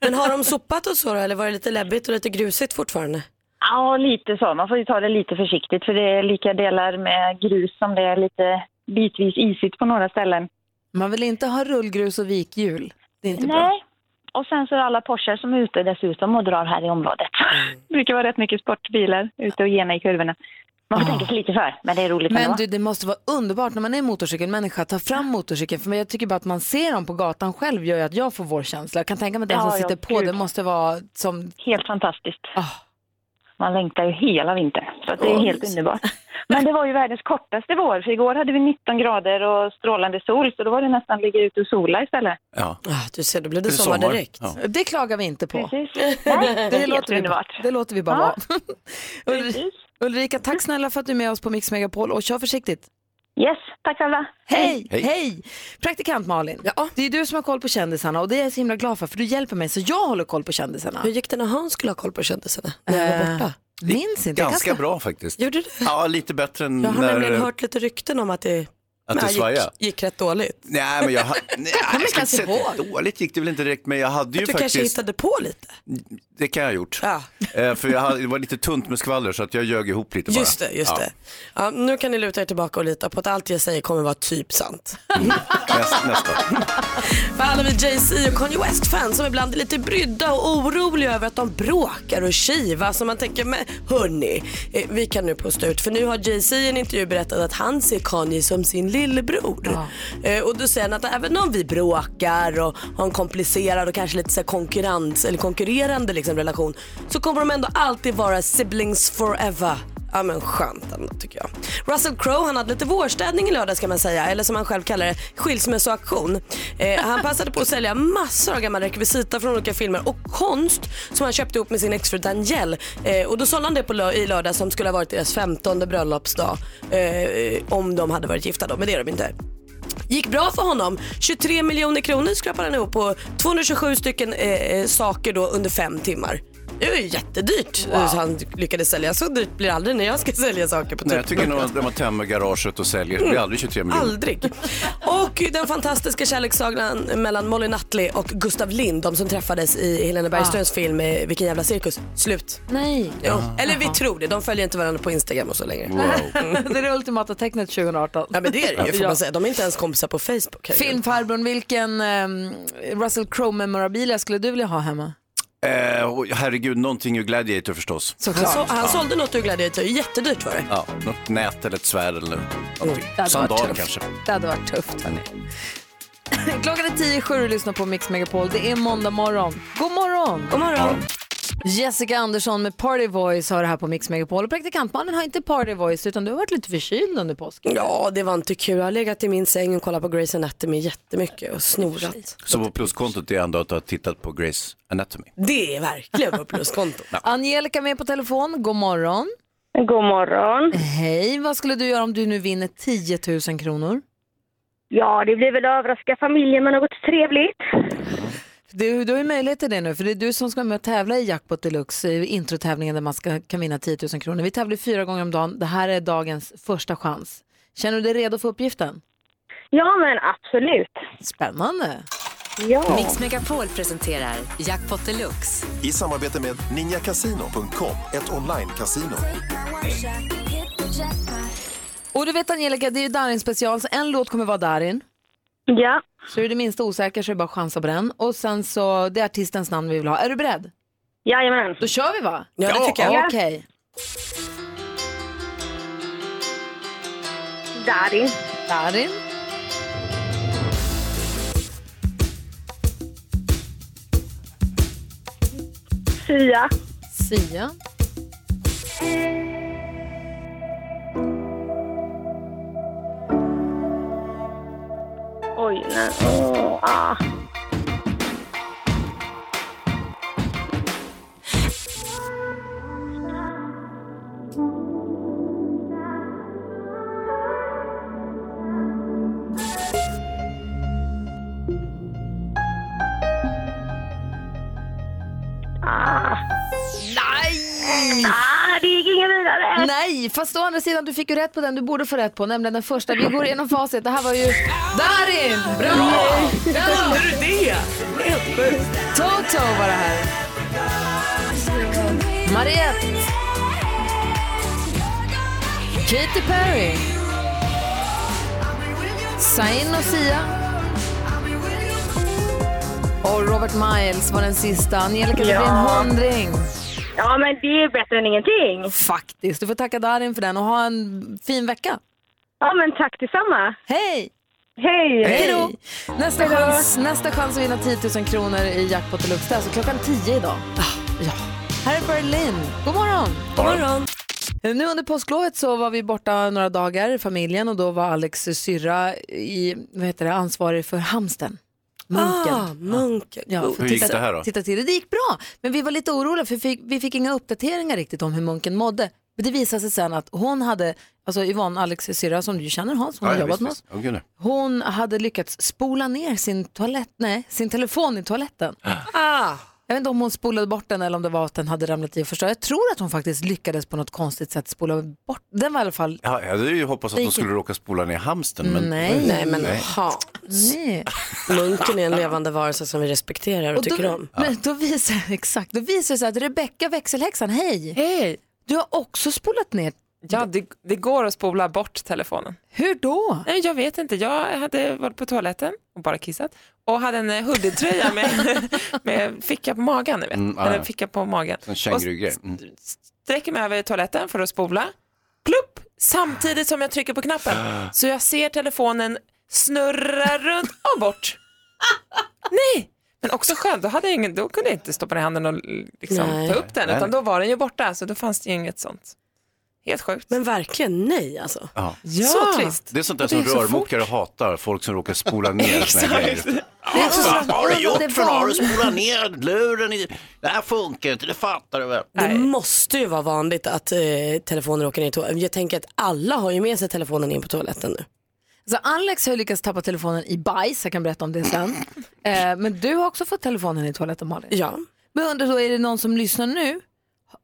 [SPEAKER 2] Men har de sopat och så då, eller var det lite läbbigt och lite grusigt fortfarande?
[SPEAKER 5] Ja, lite så. Man får ju ta det lite försiktigt, för det är lika delar med grus som det är lite bitvis isigt på några ställen.
[SPEAKER 1] Man vill inte ha rullgrus och vikhjul. Det är inte bra.
[SPEAKER 5] Nej. Och sen så är det alla Porsche som är ute dessutom och drar här i området.
[SPEAKER 1] Mm.
[SPEAKER 5] Det brukar vara rätt mycket sportbilar ute och gena i kurvorna. Man får tänka sig lite för, men det är roligt
[SPEAKER 1] Men
[SPEAKER 5] ändå.
[SPEAKER 1] du, det måste vara underbart när man är motorcykelmänniska, ta fram motorcykeln. För mig, jag tycker bara att man ser dem på gatan själv gör ju att jag får vår känsla. Jag kan tänka mig att den
[SPEAKER 5] Ja,
[SPEAKER 1] som
[SPEAKER 5] ja,
[SPEAKER 1] sitter på,
[SPEAKER 5] gud.
[SPEAKER 1] det måste vara som...
[SPEAKER 5] Helt fantastiskt.
[SPEAKER 1] Ah.
[SPEAKER 5] Man längtar ju hela vintern, så att det är helt underbart. Men det var ju världens kortaste vår, för igår hade vi 19 grader och strålande sol, så då var det nästan ligga ute och sola istället.
[SPEAKER 3] Ja.
[SPEAKER 2] Ah, du ser, då blev det,
[SPEAKER 3] Det är
[SPEAKER 2] sommar
[SPEAKER 3] sommar.
[SPEAKER 2] direkt.
[SPEAKER 3] Ja.
[SPEAKER 1] Det klagar vi inte på.
[SPEAKER 5] Precis. Nej, det är helt
[SPEAKER 1] låter vi, bara-
[SPEAKER 5] underbart.
[SPEAKER 1] det låter vi bara
[SPEAKER 5] Ja.
[SPEAKER 1] vara. Ulri-
[SPEAKER 5] Precis.
[SPEAKER 1] Ulrika, tack snälla för att du är med oss på Mix Megapol och kör försiktigt.
[SPEAKER 5] Yes, tack alla.
[SPEAKER 1] Hej! Hej!
[SPEAKER 3] Hej.
[SPEAKER 1] Praktikant Malin,
[SPEAKER 2] Ja.
[SPEAKER 1] det är du som har koll på kändisarna och det är jag så himla glad för, för du hjälper mig så jag håller koll på kändisarna.
[SPEAKER 2] Hur gick det när han skulle ha koll på kändisarna? När jag var borta?
[SPEAKER 1] Minns inte. jag kan
[SPEAKER 3] Ganska bra faktiskt.
[SPEAKER 2] Gjorde du?
[SPEAKER 3] Ja, lite bättre än
[SPEAKER 2] Jag har
[SPEAKER 3] när,
[SPEAKER 2] nämligen hört lite rykten om att det,
[SPEAKER 3] att det
[SPEAKER 2] Nej,
[SPEAKER 3] svajade.
[SPEAKER 2] gick, gick rätt dåligt.
[SPEAKER 3] Nej, men jag, ha- nej, jag ska inte
[SPEAKER 1] kanske
[SPEAKER 3] säga att det dåligt gick det väl inte direkt, men jag hade ju
[SPEAKER 2] Du kanske
[SPEAKER 3] faktiskt,
[SPEAKER 2] hittade på lite?
[SPEAKER 3] det kan jag ha gjort.
[SPEAKER 2] Ja.
[SPEAKER 3] Eh, för jag hade, det var lite tunt med skvaller så att jag ljög ihop lite bara.
[SPEAKER 2] Just det, just
[SPEAKER 3] Ja.
[SPEAKER 2] det. Ja, nu kan ni luta er tillbaka och lita på att allt jag säger kommer vara typ sant.
[SPEAKER 3] Mm. Näst, nästa.
[SPEAKER 2] För alla vi Jay-Z och Kanye West-fans som ibland är lite brydda och oroliga över att de bråkar och kivas. Så man tänker, men hörni, eh, vi kan nu posta ut. För nu har Jay-Z i en intervju berättat att han ser Kanye som sin lillebror. Eh, Och då säger han att även om vi bråkar och har en komplicerad och kanske lite så här konkurrens eller konkurrerande liksom relation så kommer de ändå alltid vara siblings forever. Ja men skönt ändå tycker jag. Russell Crowe han hade lite vårstädning i lördags kan man säga, eller som han själv kallar det, skilsmässoauktion. Eh, han passade på att sälja massor av gamla rekvisita från olika filmer och konst som han köpte ihop med sin exfru Danielle. Eh, och då sålde han det på lö- i lördags som skulle ha varit deras 15 bröllopsdag eh, om de hade varit gifta då, men det är de inte gick bra för honom. 23 miljoner kronor skrapade han ihop på 227 stycken eh, eh, saker då under fem timmar. Det var ju jättedyrt eh, så han lyckades sälja. Så dyrt blir det aldrig när jag ska sälja saker på
[SPEAKER 3] Nej,
[SPEAKER 2] typ-
[SPEAKER 3] jag tycker nog att när man tömmer garaget och säljer, det blir aldrig 23 miljoner.
[SPEAKER 2] Aldrig. Och den fantastiska kärlekssagan mellan Molly Nutley och Gustav Lind, de som träffades i Helena Bergströms film eh, Vilken jävla cirkus, slut.
[SPEAKER 1] Ah. Nej.
[SPEAKER 2] Jo. Eller vi tror det, de följer inte varandra på Instagram och så längre.
[SPEAKER 1] det är det ultimata tecknet 2018.
[SPEAKER 2] Ja men det är det ju får
[SPEAKER 1] Ja.
[SPEAKER 2] man säga, de är inte ens kompisar på Facebook. herregud.
[SPEAKER 1] Filmfarbrorn, vilken ehm, Russell Crowe-memorabilia skulle du vilja ha hemma?
[SPEAKER 3] Eh, och herregud, någonting ur Gladiator förstås.
[SPEAKER 2] Han, så, han sålde något ur Gladiator, jättedyrt var det.
[SPEAKER 3] Ja, något nät eller ett svärd eller någonting.
[SPEAKER 1] Det hade varit
[SPEAKER 3] Sandal
[SPEAKER 1] tufft.
[SPEAKER 3] kanske.
[SPEAKER 1] Det hade varit tufft. hörni.
[SPEAKER 2] Mm.
[SPEAKER 1] Klockan är tio i sju och du lyssnar på Mix Megapol. Det är måndag morgon. God morgon!
[SPEAKER 2] God morgon.
[SPEAKER 1] Jessica Andersson med Party Voice har det här på Mix Megapol. Och praktikantmannen har inte Party Voice utan du har varit lite förkyld under påsken.
[SPEAKER 2] Ja, det var inte kul. Jag har legat i min säng och kollat på Grey's Anatomy jättemycket och snorat.
[SPEAKER 3] Så på pluskontot är ändå att ha tittat på Grace Anatomy.
[SPEAKER 2] Det är verkligen på pluskonto.
[SPEAKER 1] Angelica är med på telefon. God morgon!
[SPEAKER 5] God morgon.
[SPEAKER 1] Hej! Vad skulle du göra om du nu vinner 10 000 kronor?
[SPEAKER 5] Ja, det blir väl överraska familjen med något trevligt.
[SPEAKER 1] Du, du har ju möjlighet till det nu, för det är du som ska vara med och tävla i Jackpot Deluxe, i introtävlingen där man ska, kan vinna 10 000 kronor. Vi tävlar fyra gånger om dagen. Det här är dagens första chans. Känner du dig redo för uppgiften?
[SPEAKER 5] Ja, men absolut.
[SPEAKER 1] Spännande!
[SPEAKER 5] Ja.
[SPEAKER 8] Mix Megapol presenterar Jackpot Deluxe.
[SPEAKER 9] I samarbete med ninjakasino.com, ett online-casino.
[SPEAKER 1] Och du vet Angelica, det är ju Darin special, så en låt kommer vara Darin.
[SPEAKER 5] Ja.
[SPEAKER 1] Så är du det minsta osäker så är det bara att chansa på den. Och sen så, det är artistens namn vi vill ha. Är du beredd?
[SPEAKER 5] Jajamän.
[SPEAKER 1] Då kör vi va?
[SPEAKER 5] Ja, det tycker jag.
[SPEAKER 1] Okej.
[SPEAKER 5] Darin.
[SPEAKER 1] Darin.
[SPEAKER 5] Sia.
[SPEAKER 1] Sia.
[SPEAKER 5] Oj, nej. Åh, ah.
[SPEAKER 1] Nej!
[SPEAKER 5] Ah, det gick inget vidare.
[SPEAKER 1] Nej, fast å andra sidan, du fick ju rätt på den du borde få rätt på, nämligen den första. Vi går igenom facit. Det här var ju Darin! Bra! Hur kunde du det? Helt sjukt. Toto var det här. Mariette. Katy Perry. Zayn och Sia. Och Robert Miles var den sista. Angelica, det blir en
[SPEAKER 5] Ja.
[SPEAKER 1] hundring.
[SPEAKER 5] Ja, men det är bättre än ingenting.
[SPEAKER 1] Faktiskt. Du får tacka Darin för den och ha en fin vecka.
[SPEAKER 5] Ja, men tack detsamma.
[SPEAKER 1] Hej!
[SPEAKER 5] Hej!
[SPEAKER 1] Hej då! Nästa chans, nästa chans att vinna 10 000 kronor i Jackpot Deluxe, det är alltså klockan 10 idag. Ja. Här är Berlin. God morgon! Eh,
[SPEAKER 2] God morgon.
[SPEAKER 1] Nu under påsklovet så var vi borta några dagar, familjen, och då var Alex syrra i, vad heter det, ansvarig för hamsten. Munken.
[SPEAKER 2] Ah, munken.
[SPEAKER 1] Ja,
[SPEAKER 2] Oh.
[SPEAKER 1] för
[SPEAKER 3] Hur gick
[SPEAKER 1] titta-
[SPEAKER 3] det här då?
[SPEAKER 1] Titta till det. det gick bra, men vi var lite oroliga för vi fick, vi fick inga uppdateringar riktigt om hur munken mådde. Men det visade sig sen att hon hade, alltså Yvonne, Alex syrra som du känner Hans, hon har jobbat med oss. Hon hade lyckats spola ner sin, toalett, nej, sin telefon i toaletten.
[SPEAKER 2] Ah.
[SPEAKER 1] Jag vet inte om hon spolade bort den eller om det var att den hade ramlat i och förstört. Jag tror att hon faktiskt lyckades på något konstigt sätt spola bort den. var i alla fall...
[SPEAKER 3] Ja, jag hade ju hoppats att de
[SPEAKER 1] Vilket-
[SPEAKER 3] skulle råka spola ner hamsten. Men...
[SPEAKER 1] Nej.
[SPEAKER 2] Nej men ha.
[SPEAKER 1] Nej.
[SPEAKER 2] Munken är en levande varelse som vi respekterar och,
[SPEAKER 1] då,
[SPEAKER 2] tycker om.
[SPEAKER 1] Men då visar exakt, då visar det sig att Rebecka växelhäxan, hej!
[SPEAKER 9] Hej!
[SPEAKER 1] Du har också spolat ner.
[SPEAKER 9] Ja, det, det går att spola bort telefonen.
[SPEAKER 1] Hur då?
[SPEAKER 9] Nej, jag vet inte. Jag hade varit på toaletten och bara kissat och hade en eh, hoodietröja med, med ficka på magen. Ni vet.
[SPEAKER 3] Mm, ja,
[SPEAKER 9] Eller
[SPEAKER 3] ja.
[SPEAKER 9] ficka på magen.
[SPEAKER 3] Sån
[SPEAKER 9] Och
[SPEAKER 3] kängurugrej. Mm.
[SPEAKER 9] sträcker mig över toaletten för att spola. Plupp! Samtidigt som jag trycker på knappen. Så jag ser telefonen snurra runt och bort. Nej! Men också skönt, då, hade jag ingen, då kunde jag inte stoppa den i handen och liksom,
[SPEAKER 2] Nej.
[SPEAKER 9] ta upp den.
[SPEAKER 2] Nej.
[SPEAKER 9] Utan då var den ju borta, så då fanns det ju inget sånt. Helt sjukt.
[SPEAKER 2] Men verkligen nej alltså.
[SPEAKER 3] Ja.
[SPEAKER 9] Ja. Så trist.
[SPEAKER 3] Det är sånt där
[SPEAKER 9] Och det
[SPEAKER 3] som
[SPEAKER 9] är så
[SPEAKER 3] rörmokare hatar, folk som råkar spola ner såna här
[SPEAKER 9] Exakt.
[SPEAKER 3] grejer.
[SPEAKER 1] Det är
[SPEAKER 3] Ja,
[SPEAKER 1] så-
[SPEAKER 3] Vad har
[SPEAKER 1] det
[SPEAKER 3] du
[SPEAKER 1] är
[SPEAKER 3] gjort för något? Har du
[SPEAKER 1] vanligt.
[SPEAKER 3] spolat ner luren? I... Det här funkar inte, det fattar du väl? Mm.
[SPEAKER 2] Det måste ju vara vanligt att eh, telefonen åker ner i toaletten. Jag tänker att alla har ju med sig telefonen in på toaletten nu.
[SPEAKER 1] Så Alex har ju lyckats tappa telefonen i bajs, jag kan berätta om det sen. eh, men du har också fått telefonen i toaletten Malin.
[SPEAKER 2] Ja.
[SPEAKER 1] Men jag undrar då, är det någon som lyssnar nu?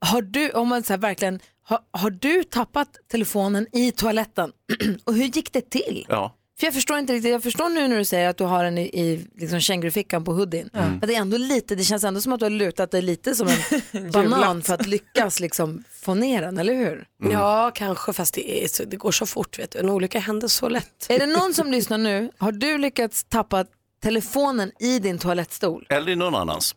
[SPEAKER 1] Har du, om man så här, verkligen, har, har du tappat telefonen i toaletten? Och hur gick det till?
[SPEAKER 3] Ja.
[SPEAKER 1] För jag förstår inte riktigt, jag förstår nu när du säger att du har den i, i liksom kängurufickan på hoodien.
[SPEAKER 9] Mm.
[SPEAKER 1] Men det är ändå lite, det känns ändå som att du har lutat dig lite som en banan
[SPEAKER 2] Hjulat.
[SPEAKER 1] för att lyckas liksom få ner den, eller hur?
[SPEAKER 2] Ja, kanske, fast det, är, så- det går så fort. Vet du. En olycka händer så lätt.
[SPEAKER 1] Är det någon som lyssnar nu, har du lyckats tappa telefonen i din toalettstol?
[SPEAKER 3] Eller i någon annans.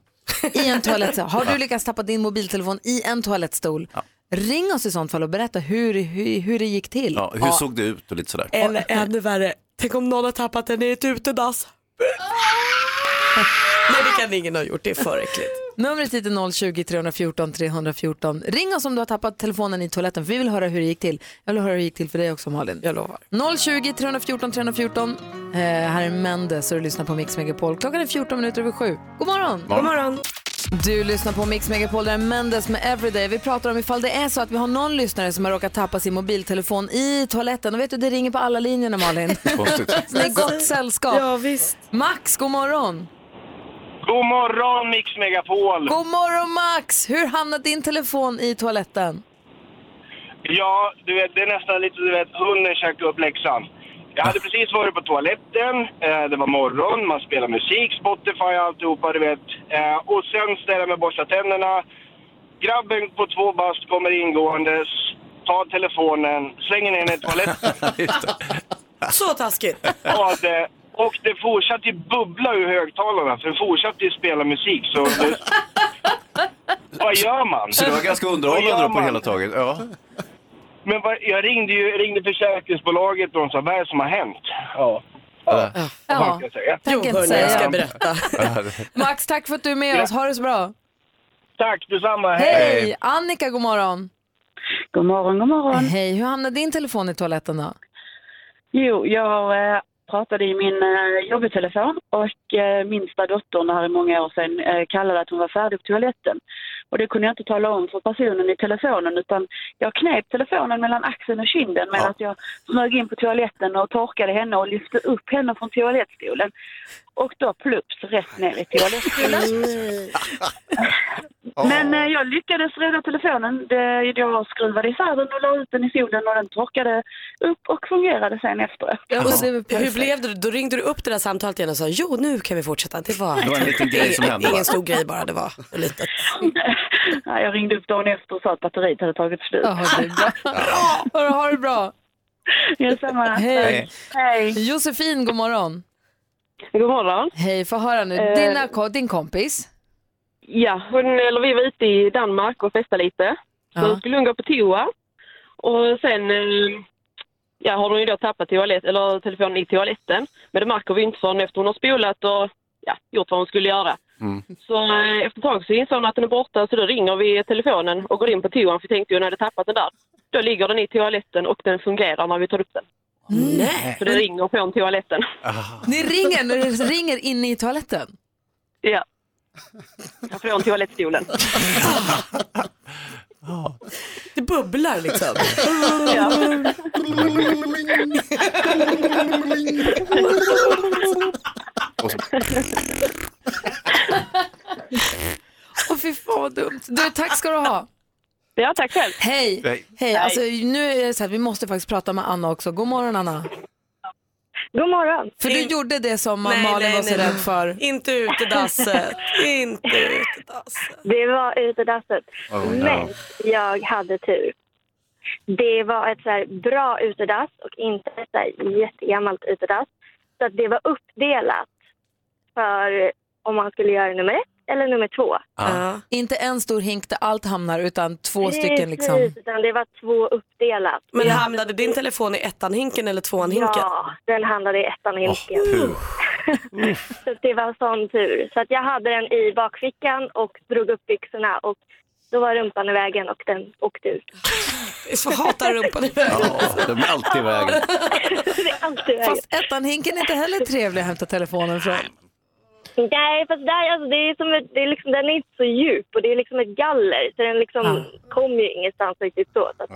[SPEAKER 1] I en toalettstol? Har du lyckats tappa din mobiltelefon i en toalettstol? Ring oss i sånt fall och berätta hur, hur, hur det gick till.
[SPEAKER 3] Ja, hur såg det ut och lite
[SPEAKER 1] Eh,
[SPEAKER 3] sådär.
[SPEAKER 2] Eller ännu värre, tänk om någon har tappat den i ett utedass. Nej, det kan ingen ha gjort. Det är för äckligt.
[SPEAKER 1] Numret hit är 020-314 314. Ring oss om du har tappat telefonen i toaletten för vi vill höra hur det gick till. Jag vill höra hur det gick till för dig också Malin.
[SPEAKER 2] Jag lovar.
[SPEAKER 1] 020-314 314. Eh, här är Mendes och du lyssnar på Mix Megapol. Klockan är 14 minuter över sju. God morgon!
[SPEAKER 2] God morgon.
[SPEAKER 1] Du lyssnar på Mix Megapol, där är Mendes med Everyday. Vi pratar om ifall det är så att vi har någon lyssnare som har råkat tappa sin mobiltelefon i toaletten. Och vet du, det ringer på alla linjerna Malin.
[SPEAKER 3] Konstigt.
[SPEAKER 1] Så det är gott sällskap.
[SPEAKER 2] Ja, visst.
[SPEAKER 1] Max, god morgon!
[SPEAKER 10] God morgon Mix Megapol!
[SPEAKER 1] God morgon Max! Hur hamnade din telefon i toaletten?
[SPEAKER 10] Ja, du vet, det är nästan lite du vet, hunden käkade upp läxan. Jag hade precis varit på toaletten, eh, det var morgon, man spelar musik, Spotify och alltihopa du vet. Eh, och sen ställer jag mig och borstar tänderna. Grabben på två bast kommer ingåendes, tar telefonen, slänger ner den i toaletten.
[SPEAKER 2] Så taskigt.
[SPEAKER 10] Ja, det, och det fortsatte ju bubbla ur högtalarna, för det fortsatte ju spela musik. Så det, vad gör man?
[SPEAKER 3] Så det var ganska
[SPEAKER 10] Vad
[SPEAKER 3] underhållande
[SPEAKER 10] gör
[SPEAKER 3] då på
[SPEAKER 10] man?
[SPEAKER 3] hela taget. Ja.
[SPEAKER 10] Men vad, jag ringde ju ringde försäkringsbolaget och de sa, vad är det som har hänt? Ja.
[SPEAKER 3] Ja.
[SPEAKER 1] Ja,
[SPEAKER 10] Kan jag säga.
[SPEAKER 1] tänker inte säga.
[SPEAKER 2] berätta.
[SPEAKER 1] Max, tack för att du är med
[SPEAKER 10] Ja.
[SPEAKER 1] oss. Ha det så bra.
[SPEAKER 10] Tack detsamma.
[SPEAKER 1] Hej!
[SPEAKER 10] Hej.
[SPEAKER 1] Annika, god morgon.
[SPEAKER 11] God morgon, god morgon.
[SPEAKER 1] Hej, hur hamnade din telefon i toaletten då?
[SPEAKER 11] Jo, jag eh, pratade i min eh, jobbtelefon och eh, minsta dottern här i många år sedan eh, kallade att hon var färdig på toaletten. Och det kunde jag inte tala om för personen i telefonen utan jag knep telefonen mellan axeln och kinden medan jag smög in på toaletten och torkade henne och lyfte upp henne från toalettstolen. Och då plups rätt ner i toalettstolen. Men eh, jag lyckades rädda telefonen. Det, jag skruvade isär den och la ut den i solen och den torkade upp och fungerade sen efter.
[SPEAKER 2] Och så- hur blev det? Då ringde du upp det där samtalet igen och sa jo nu kan vi fortsätta. Det var,
[SPEAKER 11] Det var en liten grej som hände, va?
[SPEAKER 2] Ingen stor grej bara, det var litet.
[SPEAKER 11] Ja, jag ringde upp dagen efter och sa att batteriet hade tagit slut.
[SPEAKER 1] Hörru, ha det bra.
[SPEAKER 11] Detsamma.
[SPEAKER 1] Hej.
[SPEAKER 11] Hej. Hej.
[SPEAKER 1] Josefin, god morgon.
[SPEAKER 12] God morgon.
[SPEAKER 1] Hej, få höra nu.
[SPEAKER 12] Eh.
[SPEAKER 1] Dina, ko- din kompis?
[SPEAKER 12] Ja, hon, eller vi var ute i Danmark och festade lite. Så
[SPEAKER 1] Ja.
[SPEAKER 12] skulle hon gå på toa. Och sen eh, ja, har hon ju då tappat toalett, eller telefonen i toaletten. Men det märker vi inte förrän efter hon har spolat och ja, gjort vad hon skulle göra. Så eh, efter ett tag så insåg hon att den är borta så då ringer vi telefonen och går in på toan för vi tänkte ju hon hade tappat den där. Då ligger den i toaletten och den fungerar när vi tar upp den.
[SPEAKER 1] Nej.
[SPEAKER 12] Så det ringer från toaletten.
[SPEAKER 1] Ni ringer när det ringer inne i toaletten?
[SPEAKER 12] Ja. Från toalettstolen.
[SPEAKER 2] Det bubblar liksom.
[SPEAKER 3] Och så-
[SPEAKER 1] Åh fy fan vad dumt. Du, tack ska du ha.
[SPEAKER 12] Ja, tack själv.
[SPEAKER 1] Hej.
[SPEAKER 3] Hej.
[SPEAKER 1] Hej. Alltså, nu är det så här, vi måste faktiskt prata med Anna också. God morgon Anna.
[SPEAKER 12] God morgon.
[SPEAKER 1] För du gjorde det som Malin var så rädd för.
[SPEAKER 2] Inte utedasset. Inte utedasset.
[SPEAKER 13] Det var utedasset.
[SPEAKER 2] Oh, no.
[SPEAKER 13] Men jag hade tur. Det var ett så här bra utedass och inte ett så här jättegammalt utedass. Så att det var uppdelat för om man skulle göra nummer ett eller nummer två.
[SPEAKER 1] Inte en stor hink där allt hamnar utan två stycken
[SPEAKER 13] Precis,
[SPEAKER 1] liksom.
[SPEAKER 13] utan det var två uppdelat.
[SPEAKER 2] Men hamnade din telefon i ettan-hinken eller tvåan-hinken?
[SPEAKER 13] Ja, den handlade i ettan hinken. så att det var sån tur. Så att jag hade den i bakfickan och drog upp byxorna och då var rumpan i vägen och den åkte ut.
[SPEAKER 2] Så hatar rumpan i
[SPEAKER 3] Ja, de är alltid i vägen.
[SPEAKER 1] Fast ettan-hinken är inte heller trevlig att hämta telefonen från.
[SPEAKER 13] Nej, fast där, alltså, det är som ett, det är liksom, den är inte så djup och det är liksom ett galler så den liksom kommer ju ingenstans riktigt så. så att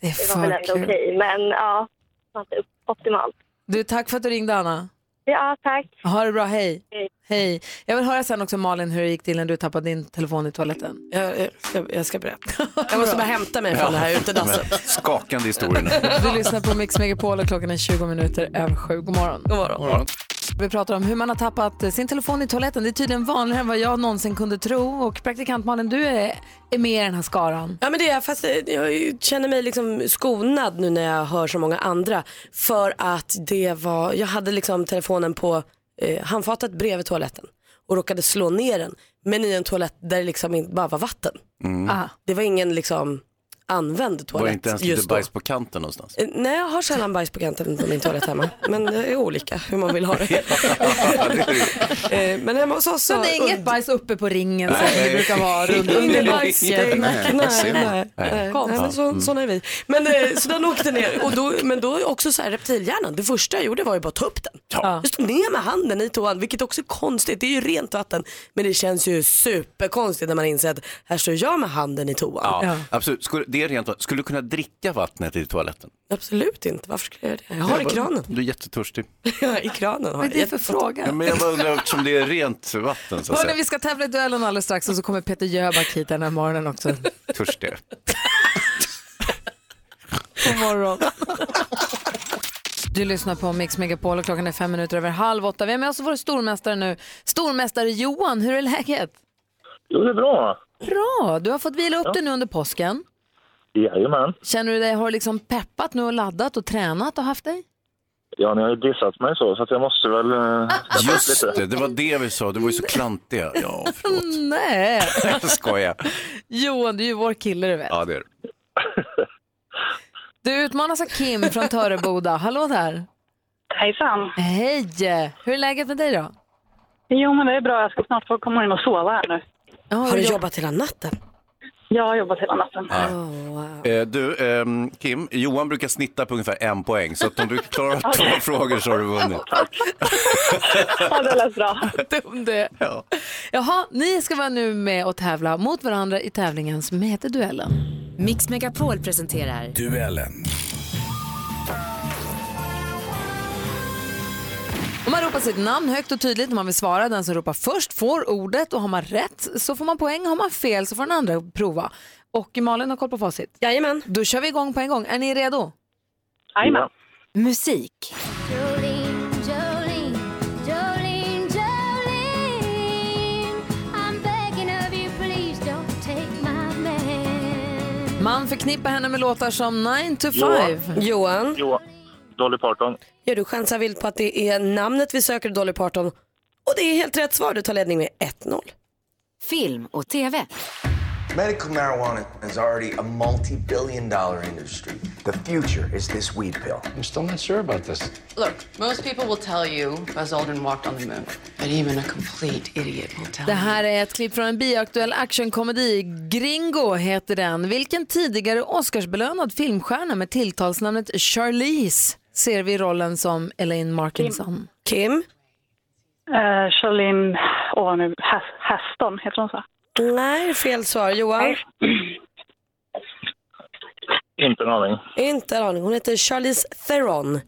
[SPEAKER 1] Det är
[SPEAKER 13] det var väl
[SPEAKER 1] för
[SPEAKER 13] ändå
[SPEAKER 1] kul.
[SPEAKER 13] okej, men ja, det var inte optimalt.
[SPEAKER 1] Du, tack för att du ringde Anna.
[SPEAKER 13] Ja, tack.
[SPEAKER 1] Ha det bra, hej. Hej. Jag vill höra sen också Malin hur det gick till när du tappade din telefon i toaletten.
[SPEAKER 2] Jag, jag, ska, jag ska berätta. Jag måste bara hämta mig från det här utedasset.
[SPEAKER 3] Men Skakande historien.
[SPEAKER 1] Du lyssnar på Mix Megapol och klockan är 20 minuter över sju. God morgon. God morgon. Vi pratar om hur man har tappat eh, sin telefon i toaletten. Det är tydligen vanligare än vad jag någonsin kunde tro. Och praktikant Malin, du är, är med i den här skaran.
[SPEAKER 2] Ja men det är jag, fast eh, jag känner mig liksom skonad nu när jag hör så många andra. För att det var, jag hade liksom telefonen på eh, handfatet bredvid toaletten och råkade slå ner den. Men i en toalett där det liksom inte bara var vatten.
[SPEAKER 3] Mm.
[SPEAKER 2] Det var ingen liksom använd
[SPEAKER 3] Var det
[SPEAKER 2] Ah, toalett
[SPEAKER 3] inte ens lite
[SPEAKER 2] just då.
[SPEAKER 3] bajs på kanten någonstans?
[SPEAKER 2] Eh, Nej, jag har sällan bajs på kanten på min toalett hemma. Men det är olika hur man vill ha det. Eh, men hemma hos oss
[SPEAKER 1] Så det är inget bajs uppe på ringen som
[SPEAKER 2] Nej.
[SPEAKER 1] det brukar vara runt under
[SPEAKER 2] Nej,
[SPEAKER 1] basket.
[SPEAKER 2] nej, nej. nej. Mm. nej.
[SPEAKER 1] Konstigt.
[SPEAKER 2] men så, såna är vi. Men eh, så den åkte ner och då, men då också så här reptilhjärnan, det första jag gjorde var ju bara att ta upp den.
[SPEAKER 1] Ja.
[SPEAKER 2] Jag stod ner med handen i toan, vilket också är konstigt, det är ju rent vatten. Men det känns ju superkonstigt när man inser att här står jag med handen i toan.
[SPEAKER 3] Ja, absolut. Skulle, det är rent, skulle du kunna dricka vattnet i toaletten?
[SPEAKER 2] Absolut inte, varför skulle jag göra det? Jag har det i
[SPEAKER 3] bara-
[SPEAKER 2] kranen.
[SPEAKER 3] Du är jättetörstig.
[SPEAKER 2] I kranen har
[SPEAKER 1] Vad är det för fråga?
[SPEAKER 3] Ja, men jag bara undrar eftersom det är rent vatten så att
[SPEAKER 1] Hörni,
[SPEAKER 3] säga.
[SPEAKER 1] vi ska tävla i duellen alldeles strax och så kommer Peter Jöback hit den här morgonen också.
[SPEAKER 3] Törstig.
[SPEAKER 1] God morgon. Du lyssnar på Mix Megapol och klockan är fem minuter över halv åtta. Vi har med oss vår stormästare nu. Stormästare Johan, hur är läget?
[SPEAKER 14] Jo, det är bra.
[SPEAKER 1] Bra! Du har fått vila upp dig nu under påsken.
[SPEAKER 14] Jajamän.
[SPEAKER 1] Känner du dig, har du liksom peppat nu och laddat och tränat och haft dig?
[SPEAKER 14] Ja, ni har ju dissat mig så, så att jag måste väl... eh, skärpa
[SPEAKER 3] Just
[SPEAKER 14] lite.
[SPEAKER 3] det, det var det vi sa. Du var ju så klantiga. Ja,
[SPEAKER 1] Nej!
[SPEAKER 3] jag skojar.
[SPEAKER 1] Johan, du är ju vår kille du vet.
[SPEAKER 3] Ja, det är det.
[SPEAKER 1] Du utmanas av Kim från Töreboda. Hallå där!
[SPEAKER 11] Hejsan!
[SPEAKER 1] Hej! Hur är läget med dig då?
[SPEAKER 11] Jo, men det är bra. Jag ska snart få komma in och sova här nu.
[SPEAKER 2] Har du jobbat hela natten?
[SPEAKER 11] Jag har jobbat hela natten.
[SPEAKER 2] Oh,
[SPEAKER 3] Eh, du, ehm, Kim, Johan brukar snitta på ungefär en poäng, så att om du klarar av två frågor så har du vunnit.
[SPEAKER 11] Ja, det lät bra.
[SPEAKER 1] Dum det.
[SPEAKER 3] Ja.
[SPEAKER 1] Jaha, ni ska vara nu med och tävla mot varandra i tävlingen som heter Duellen.
[SPEAKER 8] Mix Megapol presenterar
[SPEAKER 15] Duellen.
[SPEAKER 1] Om man ropar sitt namn högt och tydligt när man vill svara, den som ropar först får ordet och har man rätt så får man poäng, har man fel så får den andra prova. Och Malin har koll på facit.
[SPEAKER 2] Jajamän.
[SPEAKER 1] Då kör vi igång på en gång. Är ni redo?
[SPEAKER 11] Jajamän.
[SPEAKER 1] Musik. Man förknippar henne med låtar som 9 to 5.
[SPEAKER 2] Johan.
[SPEAKER 14] Johan. Dolly Parton.
[SPEAKER 2] Ja, du chansar vilt på att det är namnet vi söker, Dolly Parton. Och det är helt rätt svar. Du tar ledning med 1-0.
[SPEAKER 8] film och tv.
[SPEAKER 16] Medical marijuana is already a multi billion dollar industry. The future is this weed pill. I'm still not sure about this.
[SPEAKER 17] Look, most people will tell you Buzz Aldrin walked on the moon, but even a complete idiot will tell
[SPEAKER 1] Det här är ett klipp från en bioaktuell actionkomedi. Gringo heter den. Vilken tidigare Oscarsbelönad filmstjärna med tilltalsnamnet Charlize ser vi i rollen som Elaine Markinson?
[SPEAKER 2] Kim?
[SPEAKER 11] Uh, Charlene, åh nu, Has- Haston, heter hon så?
[SPEAKER 2] Nej, fel svar. Johan?
[SPEAKER 14] Inte en aning.
[SPEAKER 2] Inte en aning. Hon heter Charlize Theron.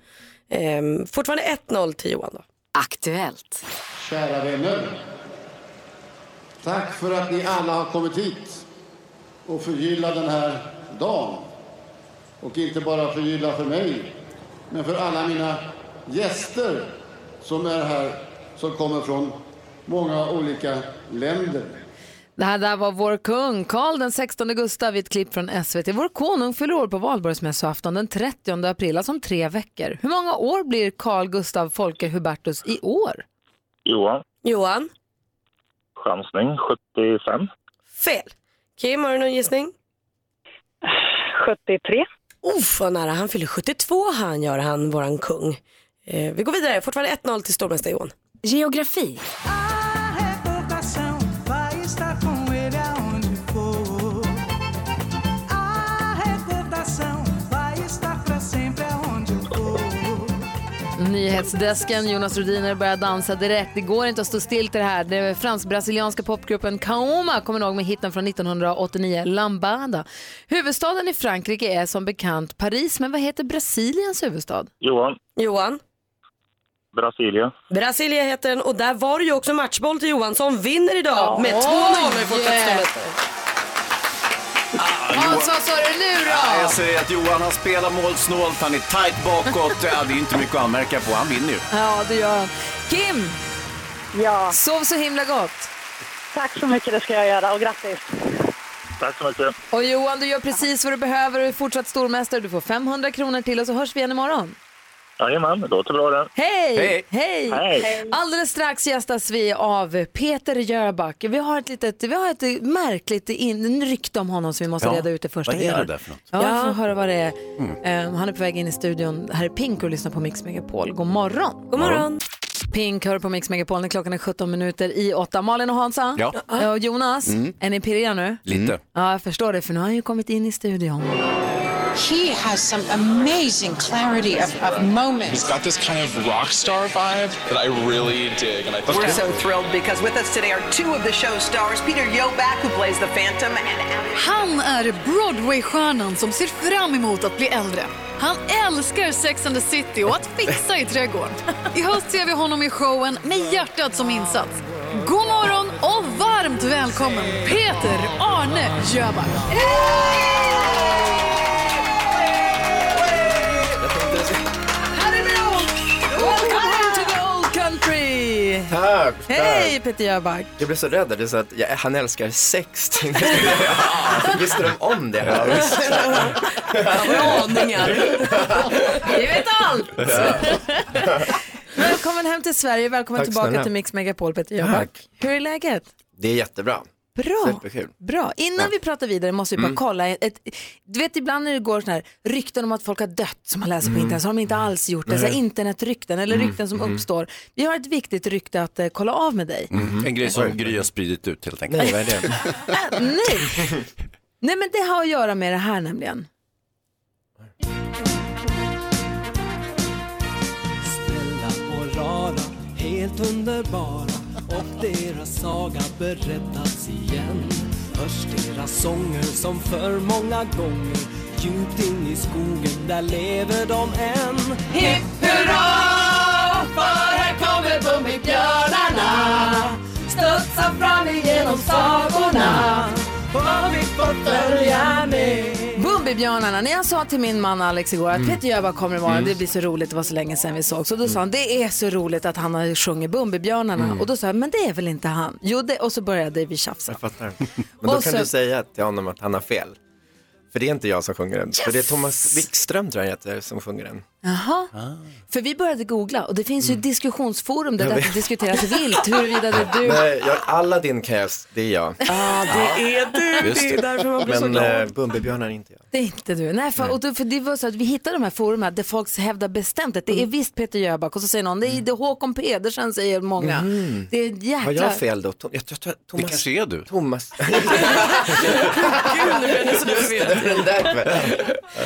[SPEAKER 2] Ehm, fortfarande 1-0 till Johan då.
[SPEAKER 8] Aktuellt.
[SPEAKER 18] Kära vänner. Tack för att ni alla har kommit hit och förgyllat den här dagen. Och inte bara förgylla för mig, men för alla mina gäster som är här, som kommer från många olika länder.
[SPEAKER 1] Det här där var vår kung, Karl den 16 Gustav, i ett klipp från SVT. Vår konung fyller år på valborgsmässoafton den 30 april, alltså om tre veckor. Hur många år blir Carl Gustav Folke Hubertus i år?
[SPEAKER 14] Johan.
[SPEAKER 2] Johan?
[SPEAKER 14] Chansning. 75.
[SPEAKER 2] Fel. Kim, har du någon gissning?
[SPEAKER 11] 73.
[SPEAKER 2] Uff, vad nära. Han fyller 72 han gör han, våran kung. Eh, vi går vidare. Fortfarande 1-0 till stormästare Johan.
[SPEAKER 8] Geografi.
[SPEAKER 4] Vocação vai estar com ele aonde for. A recordação vai estar pra sempre aonde eu for.
[SPEAKER 1] Nyhetsdesken, Jonas Rhodiner börjar dansa direkt. Det går inte att stå still till det här. Den fransk-brasilianska popgruppen Kaoma kommer ihåg med hitten från 1989, Lambada. Huvudstaden i Frankrike är som bekant Paris, men vad heter Brasiliens huvudstad?
[SPEAKER 14] Johan.
[SPEAKER 2] Johan?
[SPEAKER 14] Brasilien.
[SPEAKER 2] Brasilia heter den och där var det ju också matchboll till Johan som vinner idag med 2-0 i fortsatt
[SPEAKER 1] yeah.
[SPEAKER 2] stormästare.
[SPEAKER 1] Hans, vad sa du nu
[SPEAKER 3] Ja,
[SPEAKER 1] då?
[SPEAKER 3] jag säger att Johan han spelar målsnålt, han är tight bakåt. Ja, det är inte mycket att anmärka på, han vinner ju.
[SPEAKER 1] Ja, det gör han. Kim!
[SPEAKER 11] Ja.
[SPEAKER 1] Sov så himla gott.
[SPEAKER 11] Tack så mycket, det ska jag göra och grattis.
[SPEAKER 14] Tack så mycket.
[SPEAKER 1] Och Johan, du gör precis vad du behöver och är fortsatt stormästare. Du får 500 kronor till och så hörs vi igen imorgon.
[SPEAKER 14] Jajamän, det låter bra det.
[SPEAKER 1] Hej!
[SPEAKER 14] Hej! Hej.
[SPEAKER 1] Alldeles strax gästas vi av Peter Jöback. Vi har ett litet, vi har ett märkligt in, rykte om honom som vi måste
[SPEAKER 3] Ja,
[SPEAKER 1] reda ut det första.
[SPEAKER 3] vad är det där för något?
[SPEAKER 1] Ja,
[SPEAKER 3] Ja. Mm.
[SPEAKER 1] vi får höra vad det är. Eh, han är på väg in i studion. Det Här är Pink och lyssnar på Mix Megapol. God morgon!
[SPEAKER 2] God morgon.
[SPEAKER 1] Pink hör på Mix Megapol när klockan är 17 minuter i 8. Malin och Hansa
[SPEAKER 3] Ja.
[SPEAKER 1] Eh, och Jonas,
[SPEAKER 3] Mm.
[SPEAKER 1] är ni pirriga nu?
[SPEAKER 3] Lite.
[SPEAKER 7] Mm.
[SPEAKER 1] Ja, jag förstår det för nu har han ju kommit in i studion.
[SPEAKER 19] He has some amazing clarity of, of moments.
[SPEAKER 20] He's got this kind of rock star vibe that I really dig, and I think
[SPEAKER 21] We're so thrilled because with us today are two of the show stars, Peter Yoback, who plays the Phantom, and
[SPEAKER 22] Han är Broadway-stjärnan som ser fram emot att bli äldre. Han älskar Sex and the City och att fixa i trädgården. I höst ser vi honom i showen med hjärtat som insats. God morgon och varmt välkommen Peter Arne Jöback.
[SPEAKER 1] Welcome to the old country!
[SPEAKER 23] Tack!
[SPEAKER 1] Hej Peter Jöback!
[SPEAKER 23] Jag blev så rädd att du sa att jag, han älskar sex. Tänkte jag, ja, Visste de om det? Ja, visst.
[SPEAKER 1] Aningar! Vi vet allt!
[SPEAKER 23] Ja.
[SPEAKER 1] Välkommen hem till Sverige, välkommen
[SPEAKER 23] Tack
[SPEAKER 1] tillbaka
[SPEAKER 23] snälla.
[SPEAKER 1] till Mix Megapol Peter Jöback. Hur är läget?
[SPEAKER 23] Det är jättebra.
[SPEAKER 1] Bra.
[SPEAKER 23] Superkul.
[SPEAKER 1] Bra, innan vi pratar vidare måste vi bara
[SPEAKER 23] Mm.
[SPEAKER 1] kolla. Ett, du vet ibland när det går sådana här rykten om att folk har dött som man läser på internet så har de inte alls gjort det. Så här,
[SPEAKER 24] Mm. Nej.
[SPEAKER 1] internetrykten eller
[SPEAKER 24] Mm.
[SPEAKER 1] rykten som
[SPEAKER 24] Mm.
[SPEAKER 1] uppstår. Vi har ett viktigt rykte att eh, kolla av med dig.
[SPEAKER 3] Mm-hmm. En grej som Gry har spridit ut helt
[SPEAKER 1] Nej,
[SPEAKER 3] enkelt.
[SPEAKER 1] vad är
[SPEAKER 24] Mm.
[SPEAKER 1] Äh, nej. nej men det har att göra med det här nämligen.
[SPEAKER 25] Snälla och rara, helt underbara och deras saga berättas igen. Hörs deras sånger som för många gånger djupt in i skogen, där lever de än. Hipp hurra, för här kommer Bumbibjörnarna. Studsa fram igenom sagorna, vad vi får följa med.
[SPEAKER 1] Bumbibjörnarna, när jag sa till min man Alex igår att
[SPEAKER 23] Mm.
[SPEAKER 1] Peter Jöback kommer imorgon, det blir så roligt, det var så länge sedan vi såg. Så då
[SPEAKER 23] Mm.
[SPEAKER 1] sa han, det är så roligt att han har sjungit Bumbibjörnarna. Och då sa jag, men det är väl inte han? Jo, det, och så började vi tjafsa.
[SPEAKER 23] Jag fattar. Men då
[SPEAKER 1] Och
[SPEAKER 23] kan
[SPEAKER 1] så-
[SPEAKER 23] du säga till honom att han har fel. För det är inte jag som sjunger den. För det är Thomas Wikström tror jag han heter som sjunger den.
[SPEAKER 1] Jaha, för vi började googla och det finns
[SPEAKER 23] Mm.
[SPEAKER 1] ju diskussionsforum där
[SPEAKER 23] Jag
[SPEAKER 1] det
[SPEAKER 23] vet.
[SPEAKER 1] diskuteras vilt huruvida det är du.
[SPEAKER 23] Nej, jag, Aladdin kan jag, det är jag.
[SPEAKER 1] Ja, det är du.
[SPEAKER 23] Just
[SPEAKER 1] Det är därför man blir så
[SPEAKER 23] Men
[SPEAKER 1] glad.
[SPEAKER 23] eh, Bumbibjörnar är inte jag.
[SPEAKER 1] Det är inte du. Nej, för, och då, för det var så att vi hittade de här forumen där folk hävdar bestämt att
[SPEAKER 23] Mm.
[SPEAKER 1] det är visst Peter Jöback och så säger någon, det är, det är Håkon Pedersen säger många.
[SPEAKER 23] Mm.
[SPEAKER 1] Det är ett jäkla...
[SPEAKER 23] Har jag fel då? Tom, jag, jag, tror att Thomas, det kanske är du? Thomas.
[SPEAKER 26] Gud, nu blir jag så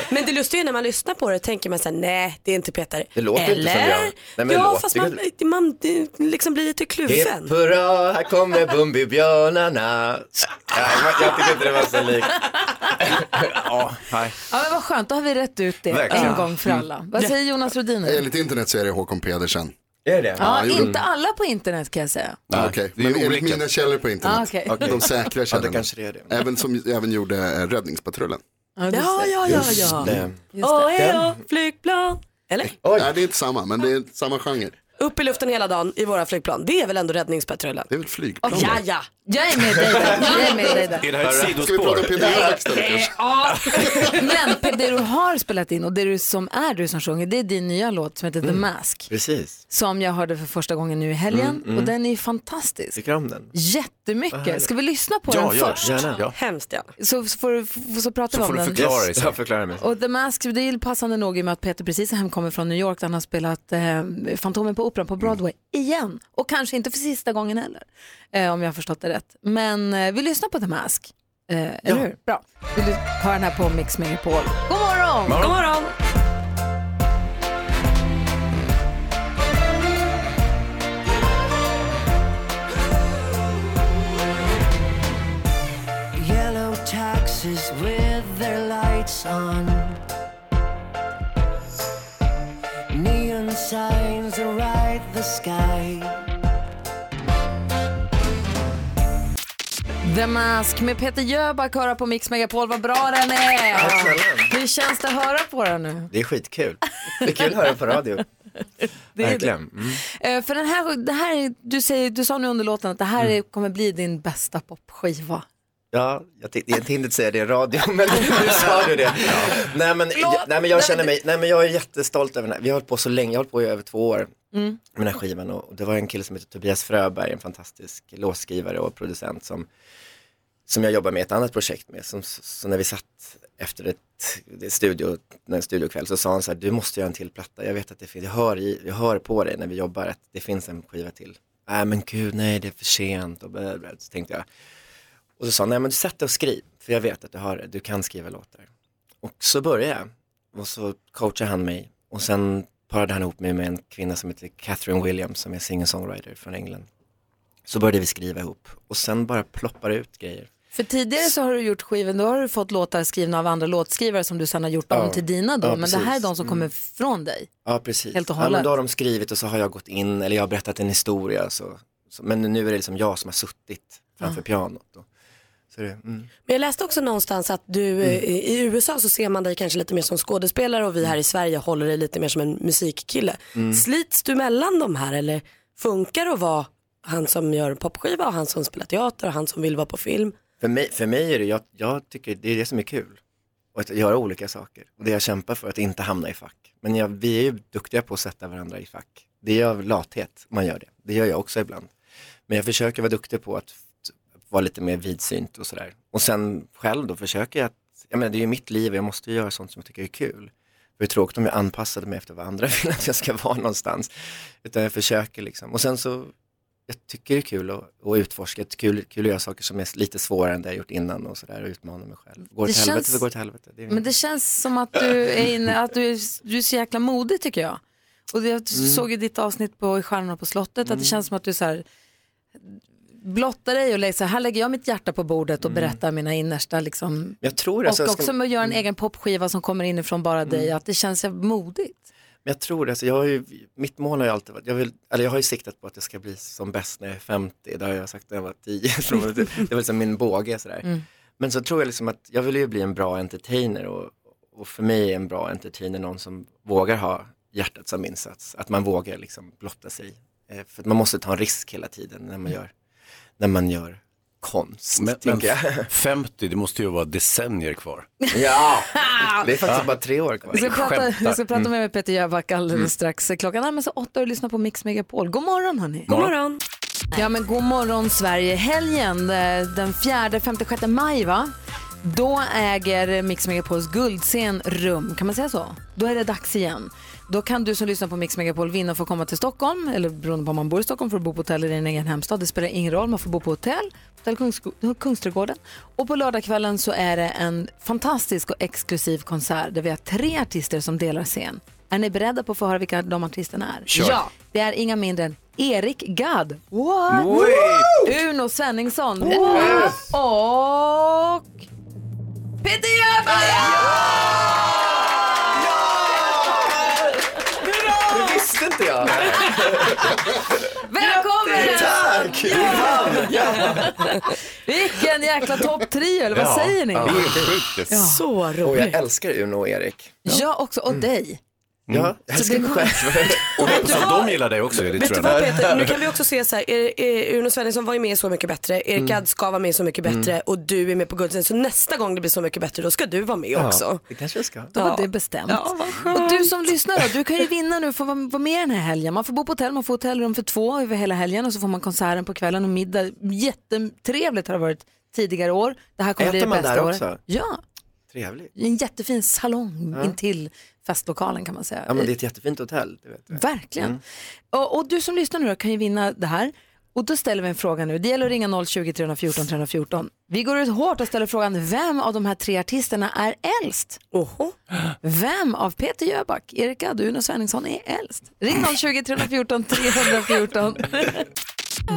[SPEAKER 2] Men det lustiga är när man lyssnar på det tänker man så här, nej det är inte Peter.
[SPEAKER 23] Det låter
[SPEAKER 2] Eller?
[SPEAKER 23] inte som jag. Nej, men det
[SPEAKER 2] ja
[SPEAKER 23] låter
[SPEAKER 2] fast man, man det liksom blir lite kluven.
[SPEAKER 23] Hipp hurra, här kommer Bumbibjörnarna. Ja, jag- jag tycker inte det var så likt. ja, nej.
[SPEAKER 1] Ja, men vad skönt, då har vi rätt ut det
[SPEAKER 7] Verkligen.
[SPEAKER 1] en gång för
[SPEAKER 7] Mm.
[SPEAKER 1] alla. Vad säger Jonas Rodiner?
[SPEAKER 7] Enligt internet så är det Håkon Pedersen.
[SPEAKER 23] Är det?
[SPEAKER 1] Ja,
[SPEAKER 7] jo, det-
[SPEAKER 1] inte alla på internet kan jag säga.
[SPEAKER 7] Ja, Okej,
[SPEAKER 23] det är
[SPEAKER 7] men enligt
[SPEAKER 23] olika.
[SPEAKER 7] mina källor på internet.
[SPEAKER 1] Ah, okej. Okej.
[SPEAKER 7] De säkra källorna.
[SPEAKER 23] kanske det är
[SPEAKER 7] Även som även gjorde eh, Räddningspatrullen.
[SPEAKER 1] Ja,
[SPEAKER 2] ja, ja, ja.
[SPEAKER 7] Just det.
[SPEAKER 2] Åh,
[SPEAKER 7] det.
[SPEAKER 2] hej då, flygplan. Eller?
[SPEAKER 7] Nej, det är inte samma, men det är samma genre.
[SPEAKER 2] Upp i luften hela dagen i våra flygplan. Det är väl ändå räddningspatrullen?
[SPEAKER 7] Det är väl ett flygplan?
[SPEAKER 2] Oh, ja, ja.
[SPEAKER 1] Jag är med dig där. Jag är med dig där.
[SPEAKER 7] Är det här ett sidospår? Ska vi prata om Peter Jöback istället, kanske?
[SPEAKER 1] Ja. Men Pe- det du har spelat in och det du som är du som sjunger, det är din nya låt som heter
[SPEAKER 23] Mm.
[SPEAKER 1] The Mask.
[SPEAKER 23] Precis.
[SPEAKER 1] Som jag hörde för första gången nu i helgen
[SPEAKER 23] Mm, mm.
[SPEAKER 1] och den är ju fantastisk.
[SPEAKER 23] Tycker du om den?
[SPEAKER 2] Vad
[SPEAKER 1] Jättemycket.
[SPEAKER 2] härligt.
[SPEAKER 1] Ska vi lyssna på den först?
[SPEAKER 23] Gärna.
[SPEAKER 2] Hemskt gärna.
[SPEAKER 1] Så, så, får du, f- så pratar vi om den.
[SPEAKER 23] Yes, Jag förklarar mig.
[SPEAKER 1] Och The Mask, det är ju passande nog i och med att Peter precis är hemkommen från New York där han har spelat eh, Fantomen på Operan på Broadway igen. Och kanske inte för sista gången heller, eh, om jag har förstått det rätt. Men eh, vi lyssnar på The Mask, eh, eller hur? Bra. Vi lys- har den här på Mix Megapol. God morgon!
[SPEAKER 12] Morgon. God morgon.
[SPEAKER 15] Yellow taxis with their lights on. Neon signs arrive the sky.
[SPEAKER 1] The Mask med Peter Jöback höra på Mix Megapol. Vad bra den är!
[SPEAKER 23] Tack
[SPEAKER 1] Hur känns det att höra på den nu?
[SPEAKER 23] Det är skitkul. Det är kul att höra på radio.
[SPEAKER 1] Det är
[SPEAKER 23] Verkligen. Mm.
[SPEAKER 1] Eh, för den här, det här är, du, säger, du sa nu under låten att det här
[SPEAKER 23] Mm.
[SPEAKER 1] är, kommer bli din bästa popskiva.
[SPEAKER 23] Ja, jag, t- jag tänkte inte säga det i radio, men nu sa du det. Nej, men, jag, nej, men jag känner mig, nej men jag är jättestolt över den här. Vi har hållit på så länge, jag har hållit på i över två år
[SPEAKER 12] Mm.
[SPEAKER 23] med den här skivan och det var en kille som heter Tobias Fröberg, en fantastisk låtskrivare och producent som, som jag jobbar med ett annat projekt med. Som, så när vi satt efter ett, det studio, en studiokväll så sa han så här, du måste göra en till platta, jag vet att det finns, jag hör, i, jag hör på dig när vi jobbar att det finns en skiva till. Nej men gud, nej det är för sent och bla, bla, bla. så tänkte jag. Och så sa han, nej men du sätt dig och skriv, för jag vet att du har det, du kan skriva låtar. Och så började jag. Och så coachade han mig. Och sen parade han ihop mig med en kvinna som heter Catherine Williams som är singer-songwriter från England. Så började vi skriva ihop. Och sen bara ploppar det ut grejer.
[SPEAKER 1] För tidigare så har du gjort skiven, då har du fått låtar skrivna av andra låtskrivare som du sen har gjort om
[SPEAKER 23] Ja.
[SPEAKER 1] till dina då.
[SPEAKER 23] Ja,
[SPEAKER 1] men det här är
[SPEAKER 23] precis.
[SPEAKER 1] de som
[SPEAKER 23] Mm.
[SPEAKER 1] kommer från dig.
[SPEAKER 23] Ja, precis.
[SPEAKER 1] Helt och
[SPEAKER 23] Ja, men
[SPEAKER 1] hållet.
[SPEAKER 23] då har de skrivit och så har jag gått in, eller jag har berättat en historia. Så, så, men nu är det liksom jag som har suttit framför
[SPEAKER 2] Ja.
[SPEAKER 23] pianot. Och, så det, mm.
[SPEAKER 2] Men jag läste också någonstans att du eh, i USA så ser man dig kanske lite mer som skådespelare och vi här i Sverige håller dig lite mer som en musikkille.
[SPEAKER 23] Mm.
[SPEAKER 2] Slits du mellan de här eller funkar det att vara han som gör popskiva och han som spelar teater och han som vill vara på film.
[SPEAKER 23] För mig, för mig är det, jag, jag tycker det är det som är kul. Och att göra olika saker. Och det jag kämpar för, att inte hamna i fack. Men jag, vi är ju duktiga på att sätta varandra i fack. Det är av lathet man gör det. Det gör jag också ibland. Men jag försöker vara duktig på att f- vara lite mer vidsynt och sådär. Och sen själv då försöker jag att, jag menar det är ju mitt liv och jag måste ju göra sånt som jag tycker är kul. För det är tråkigt om jag anpassade mig efter vad andra vill att jag ska vara någonstans. Utan jag försöker liksom. Och sen så jag tycker det är kul att, att utforska, det är kul, kul att göra saker som är lite svårare än det jag gjort innan och sådär och utmana mig själv. Går
[SPEAKER 1] Det
[SPEAKER 23] det till helvete
[SPEAKER 1] känns-
[SPEAKER 23] så går det till helvete. Det är
[SPEAKER 1] Men det känns som att du är, inne, att du är, du är så jäkla modig tycker jag. Och det, jag
[SPEAKER 23] Mm.
[SPEAKER 1] såg i ditt avsnitt på I Stjärnorna på slottet att det känns som att du så här, blottar dig och lägger, så här, här lägger jag mitt hjärta på bordet och
[SPEAKER 23] Mm.
[SPEAKER 1] berättar mina innersta liksom.
[SPEAKER 23] Jag tror
[SPEAKER 1] Och
[SPEAKER 23] det. alltså, jag ska- Mm.
[SPEAKER 1] också med att göra en egen popskiva som kommer inifrån bara dig, att det känns så modigt.
[SPEAKER 23] Men jag tror det, alltså jag har ju, mitt mål har ju alltid varit, jag, vill, eller jag har ju siktat på att jag ska bli som bäst när jag är 50, det har jag sagt när jag var 10, tror jag. det var liksom min båge sådär.
[SPEAKER 1] Mm.
[SPEAKER 23] Men så tror jag liksom att jag vill ju bli en bra entertainer och, och för mig är en bra entertainer någon som vågar ha hjärtat som insats, att man vågar liksom blotta sig. Eh, För att man måste ta en risk hela tiden när
[SPEAKER 1] Mm.
[SPEAKER 23] man gör, när man gör konst,
[SPEAKER 3] Men, men
[SPEAKER 23] tänker jag.
[SPEAKER 3] 50, det måste ju vara decennier kvar.
[SPEAKER 23] Ja, det är faktiskt bara tre år kvar.
[SPEAKER 1] Vi ska prata, vi ska prata
[SPEAKER 3] Mm.
[SPEAKER 1] med Peter Jöback alldeles
[SPEAKER 3] Mm.
[SPEAKER 1] strax. Klockan närmar sig åtta och lyssnar på Mix Megapol. God morgon hörni.
[SPEAKER 2] God morgon.
[SPEAKER 1] Ja men god morgon Sverige. Helgen eh, den 4-5-6 maj va? Då äger Mix Megapols guldscen rum, kan man säga så? Då är det dags igen. Då kan du som lyssnar på Mix Megapol vinna för att komma till Stockholm, eller beroende på om man bor i Stockholm får du bo på hotell i din egen hemstad. Det spelar ingen roll, man får bo på hotell, hotell Kungs- Kungsträdgården. Och på lördagskvällen så är det en fantastisk och exklusiv konsert där vi har tre artister som delar scen. Är ni beredda på att få höra vilka de artisterna är?
[SPEAKER 4] Kör. Ja.
[SPEAKER 1] Det är inga mindre än Erik Gadd. What?
[SPEAKER 4] Oj.
[SPEAKER 1] Uno Svenningsson.
[SPEAKER 4] What?
[SPEAKER 1] Och... Peter Jöback!
[SPEAKER 23] Det visste inte jag.
[SPEAKER 1] Välkommen!
[SPEAKER 23] Tack! Vi vann! Ja.
[SPEAKER 1] Vilken jäkla topptrio, eller vad
[SPEAKER 23] Ja.
[SPEAKER 1] säger ni?
[SPEAKER 23] Ja, det är sjukt.
[SPEAKER 1] Ja. Så roligt.
[SPEAKER 23] Och jag älskar Uno och Erik.
[SPEAKER 1] Jag också,
[SPEAKER 23] Mm.
[SPEAKER 1] och dig.
[SPEAKER 23] Ja, jag älskar
[SPEAKER 1] det
[SPEAKER 23] mig
[SPEAKER 1] kommer-
[SPEAKER 23] själv.
[SPEAKER 3] Och
[SPEAKER 2] Vet du
[SPEAKER 3] så
[SPEAKER 2] vad?
[SPEAKER 3] de gillar dig också, det
[SPEAKER 2] Vet
[SPEAKER 3] tror
[SPEAKER 2] du
[SPEAKER 3] jag.
[SPEAKER 2] vad Peter, nu kan vi också se så här, er, er, Uno Svensson var ju med i Så mycket bättre, Erik
[SPEAKER 3] Mm.
[SPEAKER 2] Gadd ska vara med i Så mycket bättre
[SPEAKER 3] Mm.
[SPEAKER 2] och du är med på Guldsen. Så nästa gång det blir Så mycket bättre då ska du vara med också.
[SPEAKER 23] Det kanske jag ska.
[SPEAKER 1] Då var det bestämt. och du som lyssnar då, du kan ju vinna nu, får vara vara med den här helgen. Man får bo på hotell, man får hotellrum för två över hela helgen och så får man konserten på kvällen och middag. Jättetrevligt har det varit tidigare år. Det här kommer bli
[SPEAKER 23] Äter
[SPEAKER 1] det
[SPEAKER 23] man
[SPEAKER 1] bästa
[SPEAKER 23] där
[SPEAKER 1] året.
[SPEAKER 23] också?
[SPEAKER 1] Ja,
[SPEAKER 23] Trevligt.
[SPEAKER 1] en jättefin salong intill festlokalen kan man säga.
[SPEAKER 23] Ja, men det är ett jättefint hotell. Det vet jag.
[SPEAKER 1] Verkligen.
[SPEAKER 23] Mm.
[SPEAKER 1] Och, och du som lyssnar nu då kan ju vinna det här. Och då ställer vi en fråga nu. Det gäller att ringa 020 314 314. Vi går ut hårt och ställer frågan vem av de här tre artisterna är äldst?
[SPEAKER 2] Oho.
[SPEAKER 1] Vem av Peter Jöback, Erik Gadd och Uno Svenningsson är äldst? Ring 020 314 314.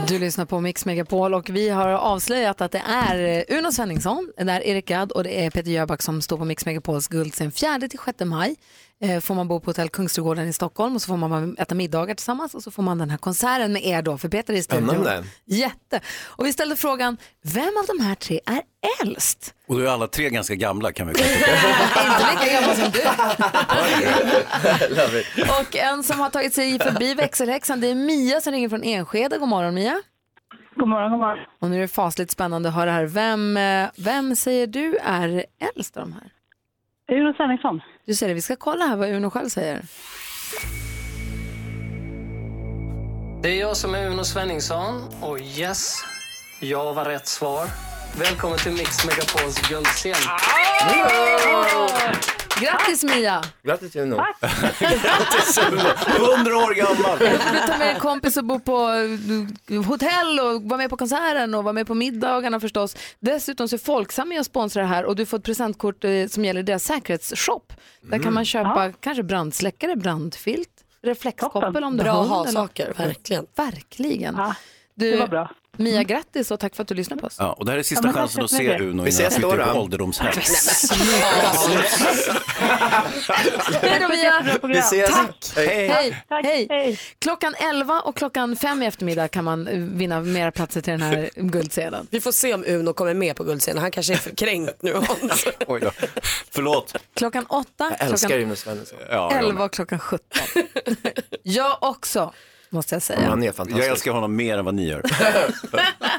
[SPEAKER 1] Du lyssnar på Mix Megapol och vi har avslöjat att det är eh, Uno Svenningsson, det är Erik Gadd och det är Peter Jöback som står på Mix Megapols guldscen 4 till 6 maj. Eh, Får man bo på hotell Kungsträdgården i Stockholm och så får man äta middagar tillsammans och så får man den här konserten med er då för Peter är i studion.
[SPEAKER 3] Spännande.
[SPEAKER 1] Jätte. Och vi ställde frågan, vem av de här tre är äldst?
[SPEAKER 3] Och då är alla tre ganska gamla kan vi konstatera.
[SPEAKER 1] Inte lika gammal som du.
[SPEAKER 23] Love it.
[SPEAKER 1] Och en som har tagit sig förbi växelhäxan, det är Mia som ringer från Enskede. God morgon Mia.
[SPEAKER 22] God morgon, god morgon.
[SPEAKER 1] Och nu är det fasligt spännande att höra här. Vem, eh, vem säger du är äldst av de här?
[SPEAKER 22] Uno Svenningsson.
[SPEAKER 1] Du säger det, vi ska kolla här vad Uno själv säger.
[SPEAKER 12] Det är jag som är Uno Svenningsson och yes, jag var rätt svar. Välkommen till Mix Megapols guldscen.
[SPEAKER 1] Grattis Mia!
[SPEAKER 23] Grattis Uno.
[SPEAKER 3] Hundra år gammal.
[SPEAKER 1] Du får ta med en kompis och bo på eh, hotell och vara med på konserten och vara med på middagarna förstås. Dessutom så är Folksam med och sponsrar det här och du får ett presentkort eh, som gäller deras säkerhetsshop. Där kan
[SPEAKER 2] Mm.
[SPEAKER 1] man köpa kanske brandsläckare, brandfilt, reflexkoppel om du
[SPEAKER 2] Bra
[SPEAKER 1] har
[SPEAKER 2] att ha
[SPEAKER 1] hund eller-
[SPEAKER 2] saker, verkligen.
[SPEAKER 1] Verkligen.
[SPEAKER 22] det
[SPEAKER 1] Du,
[SPEAKER 22] var bra.
[SPEAKER 1] Mia, grattis och tack för att du lyssnade på oss.
[SPEAKER 3] Ja, och det här är
[SPEAKER 1] Ja,
[SPEAKER 3] sista
[SPEAKER 1] men
[SPEAKER 3] chansen att
[SPEAKER 1] tack så
[SPEAKER 3] se
[SPEAKER 1] mycket.
[SPEAKER 3] Uno
[SPEAKER 23] Vi
[SPEAKER 3] innan han
[SPEAKER 23] ses då,
[SPEAKER 3] flyttar
[SPEAKER 23] då.
[SPEAKER 3] på ålderdomshem.
[SPEAKER 1] Hej då Mia!
[SPEAKER 3] Vi ses.
[SPEAKER 1] Tack!
[SPEAKER 3] Hej.
[SPEAKER 1] Hej. Hej! Klockan 11 och klockan 5 i eftermiddag kan man eh, vinna mera platser till den här guldsedeln.
[SPEAKER 2] Vi får se om Uno kommer med på Guldscenen, han kanske är för kränkt nu.
[SPEAKER 3] Oj då. Förlåt.
[SPEAKER 1] Klockan 8,
[SPEAKER 23] Jag älskar
[SPEAKER 1] klockan
[SPEAKER 23] Uno Svensson.
[SPEAKER 3] Ja,
[SPEAKER 1] 11 och klockan 17. Jag också. måste jag säga.
[SPEAKER 23] är fantastisk.
[SPEAKER 3] Jag älskar honom mer än vad ni gör.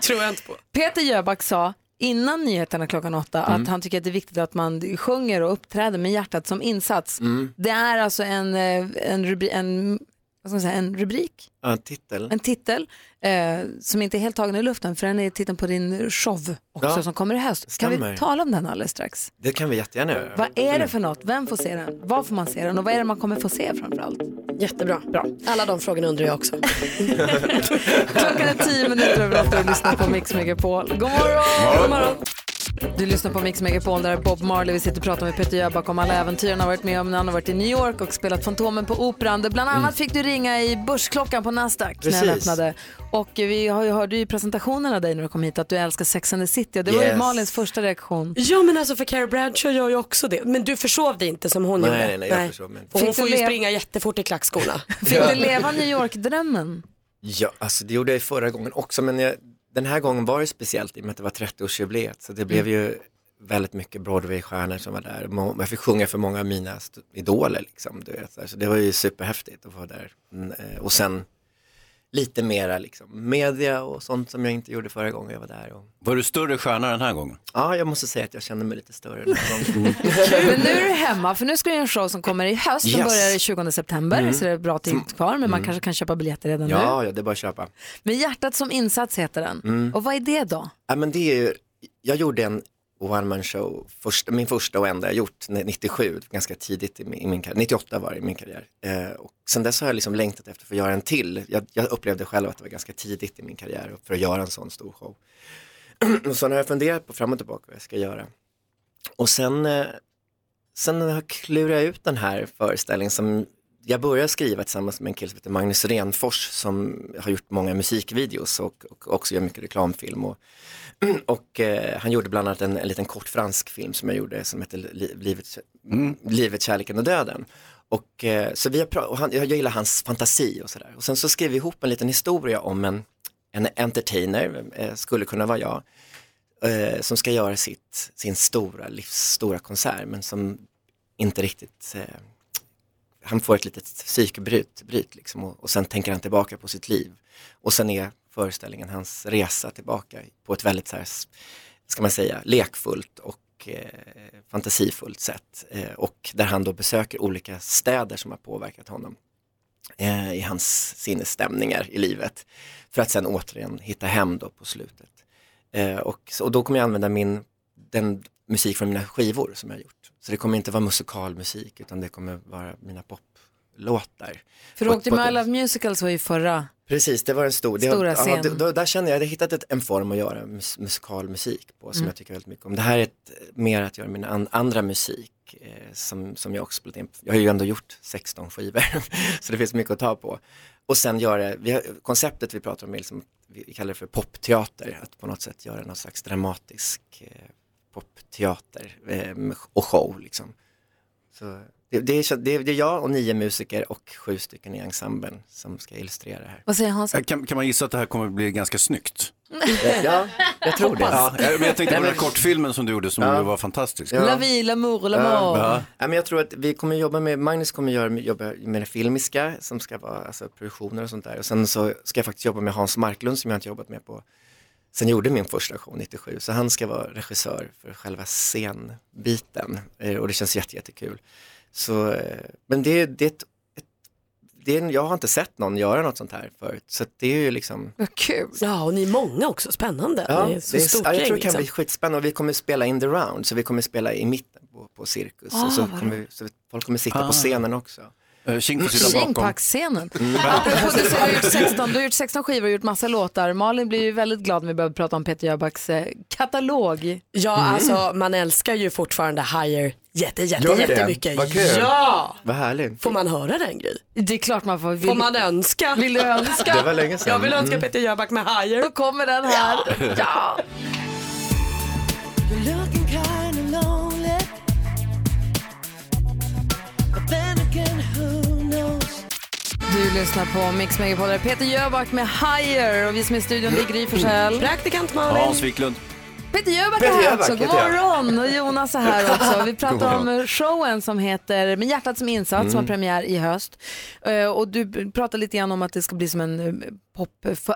[SPEAKER 1] tror jag inte på. Peter Jöback sa innan nyheterna klockan åtta
[SPEAKER 3] Mm.
[SPEAKER 1] att han tycker att det är viktigt att man sjunger och uppträder med hjärtat som insats.
[SPEAKER 23] Mm.
[SPEAKER 1] Det är alltså en, eh, en, rubri, en, vad ska man säga, en rubrik,
[SPEAKER 23] Ja, titel.
[SPEAKER 1] en titel eh, som inte är helt tagen i luften för den är titeln på din show också
[SPEAKER 23] Ja,
[SPEAKER 1] som kommer i höst. Kan vi
[SPEAKER 23] stämmer.
[SPEAKER 1] tala om den alldeles strax?
[SPEAKER 23] Det kan vi jättegärna göra.
[SPEAKER 1] Eh, Vad är det för något? Vem får se den? Var får man se den? Och vad är det man kommer få se framförallt?
[SPEAKER 2] Jättebra. Bra. Alla de frågorna undrar jag också.
[SPEAKER 1] Klockan är tio minuter över åtta och du lyssnar på Mix Megapol. God morgon! God morgon. Du lyssnar på Mix Megapol där Bob Marley vi sitter och pratar med Peter Jöback om alla äventyr han har varit med om när han har varit i New York och spelat Fantomen på Operan. Där bland annat
[SPEAKER 27] Mm.
[SPEAKER 1] fick du ringa i börsklockan på Nasdaq när den
[SPEAKER 27] Precis.
[SPEAKER 1] öppnade. Och vi har ju, hörde ju i presentationen av dig när du kom hit att du älskar Sex and the City och det var ju
[SPEAKER 2] Yes.
[SPEAKER 1] Malins första reaktion.
[SPEAKER 2] Ja men alltså för Carrie Bradshaw gör ju också det. Men du försov dig inte som hon
[SPEAKER 1] Nej,
[SPEAKER 2] gjorde.
[SPEAKER 1] nej, nej, jag försov mig inte.
[SPEAKER 2] Och hon
[SPEAKER 1] Fick du
[SPEAKER 2] får ju
[SPEAKER 1] le-
[SPEAKER 2] springa jättefort i klackskorna.
[SPEAKER 1] Fick du leva New York-drömmen?
[SPEAKER 23] Ja, alltså det gjorde jag ju förra gången också, men jag, den här gången var det speciellt i och med att det var 30-årsjubileet, så det
[SPEAKER 1] Mm.
[SPEAKER 23] blev ju väldigt mycket Broadway-stjärnor som var där. Må- Jag fick sjunga för många av mina st- idoler, liksom, du vet, så, här. så det var ju superhäftigt att vara där. Mm, eh, Och sen lite mera liksom, media och sånt som jag inte gjorde förra gången jag var där. Och...
[SPEAKER 3] Var du större stjärna den här gången?
[SPEAKER 23] Ja, jag måste säga att jag känner mig lite större den här gången.
[SPEAKER 1] Men nu är du hemma för nu ska du göra en show som kommer i höst. Den
[SPEAKER 23] Yes.
[SPEAKER 1] börjar 20 september
[SPEAKER 23] Mm.
[SPEAKER 1] så det är bra tid kvar men man kanske kan köpa biljetter redan nu.
[SPEAKER 23] Ja, ja, det är bara att köpa.
[SPEAKER 1] Men hjärtat som insats heter den.
[SPEAKER 23] Mm.
[SPEAKER 1] Och vad är det då?
[SPEAKER 23] Ja, men det är ju, jag gjorde en one man show, först, min första och enda jag gjort, 97, ganska tidigt i min, i min karriär, 98 var det i min karriär. Eh, och sen dess har jag liksom längtat efter att få göra en till. Jag, jag upplevde själv att det var ganska tidigt i min karriär för att göra en sån stor show. och sen har jag funderat på fram och tillbaka vad jag ska göra. Och sen, eh, sen har jag klurat ut den här föreställningen som jag började skriva tillsammans med en kille som heter Magnus Renfors som har gjort många musikvideos och, och också gör mycket reklamfilm. Och, och eh, han gjorde bland annat en, en liten kort fransk film som jag gjorde som heter Li- Livet, Livet, kärleken och döden. Och, eh, så vi har pra- och han, jag gillar hans fantasi och sådär. Och sen så skrev vi ihop en liten historia om en, en entertainer, eh, skulle kunna vara jag, eh, som ska göra sitt, sin stora, livsstora konsert men som inte riktigt eh, han får ett litet psykbryt bryt liksom, och, och sen tänker han tillbaka på sitt liv. Och sen är föreställningen hans resa tillbaka på ett väldigt så här, s- ska man säga, lekfullt och eh, fantasifullt sätt. Eh, och där han då besöker olika städer som har påverkat honom eh, i hans sinnesstämningar i livet. För att sen återigen hitta hem då på slutet. Eh, och, så- och då kommer jag använda min, den musik från mina skivor som jag har gjort. Så det kommer inte vara musikalmusik utan det kommer vara mina poplåtar.
[SPEAKER 1] För du
[SPEAKER 23] På-
[SPEAKER 1] åkte
[SPEAKER 23] på
[SPEAKER 1] med
[SPEAKER 23] det-
[SPEAKER 1] I Love Musicals var ju förra.
[SPEAKER 23] Precis, det var en stor, det,
[SPEAKER 1] Stora
[SPEAKER 23] ja,
[SPEAKER 1] scen.
[SPEAKER 23] det- då, där känner jag, jag hade hittat ett, en form att göra mus, musikalmusik på som
[SPEAKER 1] Mm.
[SPEAKER 23] jag tycker väldigt mycket om. Det här är ett, mer att göra min an, andra musik eh, som, som jag också spelat in. Jag har ju ändå gjort 16 skivor så det finns mycket att ta på. Och sen göra, vi har, konceptet vi pratar om är liksom, vi kallar det för popteater, att på något sätt göra någon slags dramatisk eh, popteater eh, med- och show liksom. Så det, det, är, det, är, det är jag och nio musiker och sju stycken i ensemblen som ska illustrera det här.
[SPEAKER 1] Vad säger Hans?
[SPEAKER 3] Äh, Kan, kan man gissa att det här kommer bli ganska snyggt?
[SPEAKER 23] Ja, jag tror det.
[SPEAKER 3] Ja, jag, men jag tänkte på
[SPEAKER 23] Nej,
[SPEAKER 3] den
[SPEAKER 23] men-
[SPEAKER 3] här kortfilmen som du gjorde som
[SPEAKER 23] Ja.
[SPEAKER 3] var fantastisk.
[SPEAKER 23] Ja.
[SPEAKER 1] La vie, l'amour, l'amour.
[SPEAKER 23] Ja. Ja, men jag tror att vi kommer jobba med, Magnus kommer göra, jobba med det filmiska som ska vara alltså, produktioner och sånt där. Och sen så ska jag faktiskt jobba med Hans Marklund som jag inte jobbat med på, sen jag gjorde min första show 97. Så han ska vara regissör för själva scenbiten Eh, och det känns jätte, jättekul. Så, eh, men det, är- det, är ett, ett, det är, en- jag har inte sett någon göra något sånt här förut. Så att det är ju liksom
[SPEAKER 1] Vad kul.
[SPEAKER 2] Ja och ni är många också, spännande.
[SPEAKER 23] Ja,
[SPEAKER 2] ni är så stort
[SPEAKER 23] ja, jag
[SPEAKER 2] gäng,
[SPEAKER 23] tror det kan
[SPEAKER 2] liksom.
[SPEAKER 23] bli skitspännande och vi kommer spela in the round, så vi kommer spela i mitten på, på cirkus.
[SPEAKER 1] Ah,
[SPEAKER 23] och så,
[SPEAKER 1] vad
[SPEAKER 23] kommer, vi- så folk kommer sitta
[SPEAKER 3] Ah. Eh,
[SPEAKER 23] på scenen också.
[SPEAKER 1] Mm.
[SPEAKER 3] Tjing
[SPEAKER 1] Tjingpack-scenen.
[SPEAKER 23] Mm.
[SPEAKER 1] Apropå du säger att du har gjort 16, du har gjort 16 skivor och gjort massa låtar. Malin blir ju väldigt glad när vi börjar prata om Peter Jöbacks eh, katalog. Mm.
[SPEAKER 2] Ja, alltså man älskar ju fortfarande Higher jätte, jätte,
[SPEAKER 1] Gör det?
[SPEAKER 2] jättemycket.
[SPEAKER 1] Vad kul.
[SPEAKER 2] Ja!
[SPEAKER 23] Vad härligt.
[SPEAKER 2] Får man höra den Gry?
[SPEAKER 1] Det är klart man får.
[SPEAKER 2] Får man önska?
[SPEAKER 1] Vill du önska?
[SPEAKER 2] Det var länge sedan. Jag vill önska
[SPEAKER 1] Mm.
[SPEAKER 2] Peter Jöback med Higher. Då
[SPEAKER 1] kommer den här. Ja.
[SPEAKER 15] You're looking kinda lonely. But then again, who knows?
[SPEAKER 1] Du lyssnar på Mix Megapol, Där är Peter Jöback med Higher och vi som är i studion det är Gry Forssell.
[SPEAKER 2] Praktikant
[SPEAKER 3] Hans Wiklund.
[SPEAKER 1] Peter Jöback
[SPEAKER 12] Peter
[SPEAKER 1] är här
[SPEAKER 12] Jöback
[SPEAKER 1] också. God
[SPEAKER 12] heter jag.
[SPEAKER 1] morgon. Och Jonas är här också. Vi
[SPEAKER 12] God
[SPEAKER 1] pratar
[SPEAKER 12] morgon.
[SPEAKER 1] om showen som heter Med hjärtat som insats som har
[SPEAKER 12] Mm.
[SPEAKER 1] premiär i höst. Eh, Och du pratar lite grann om att det ska bli som en, eh, pop,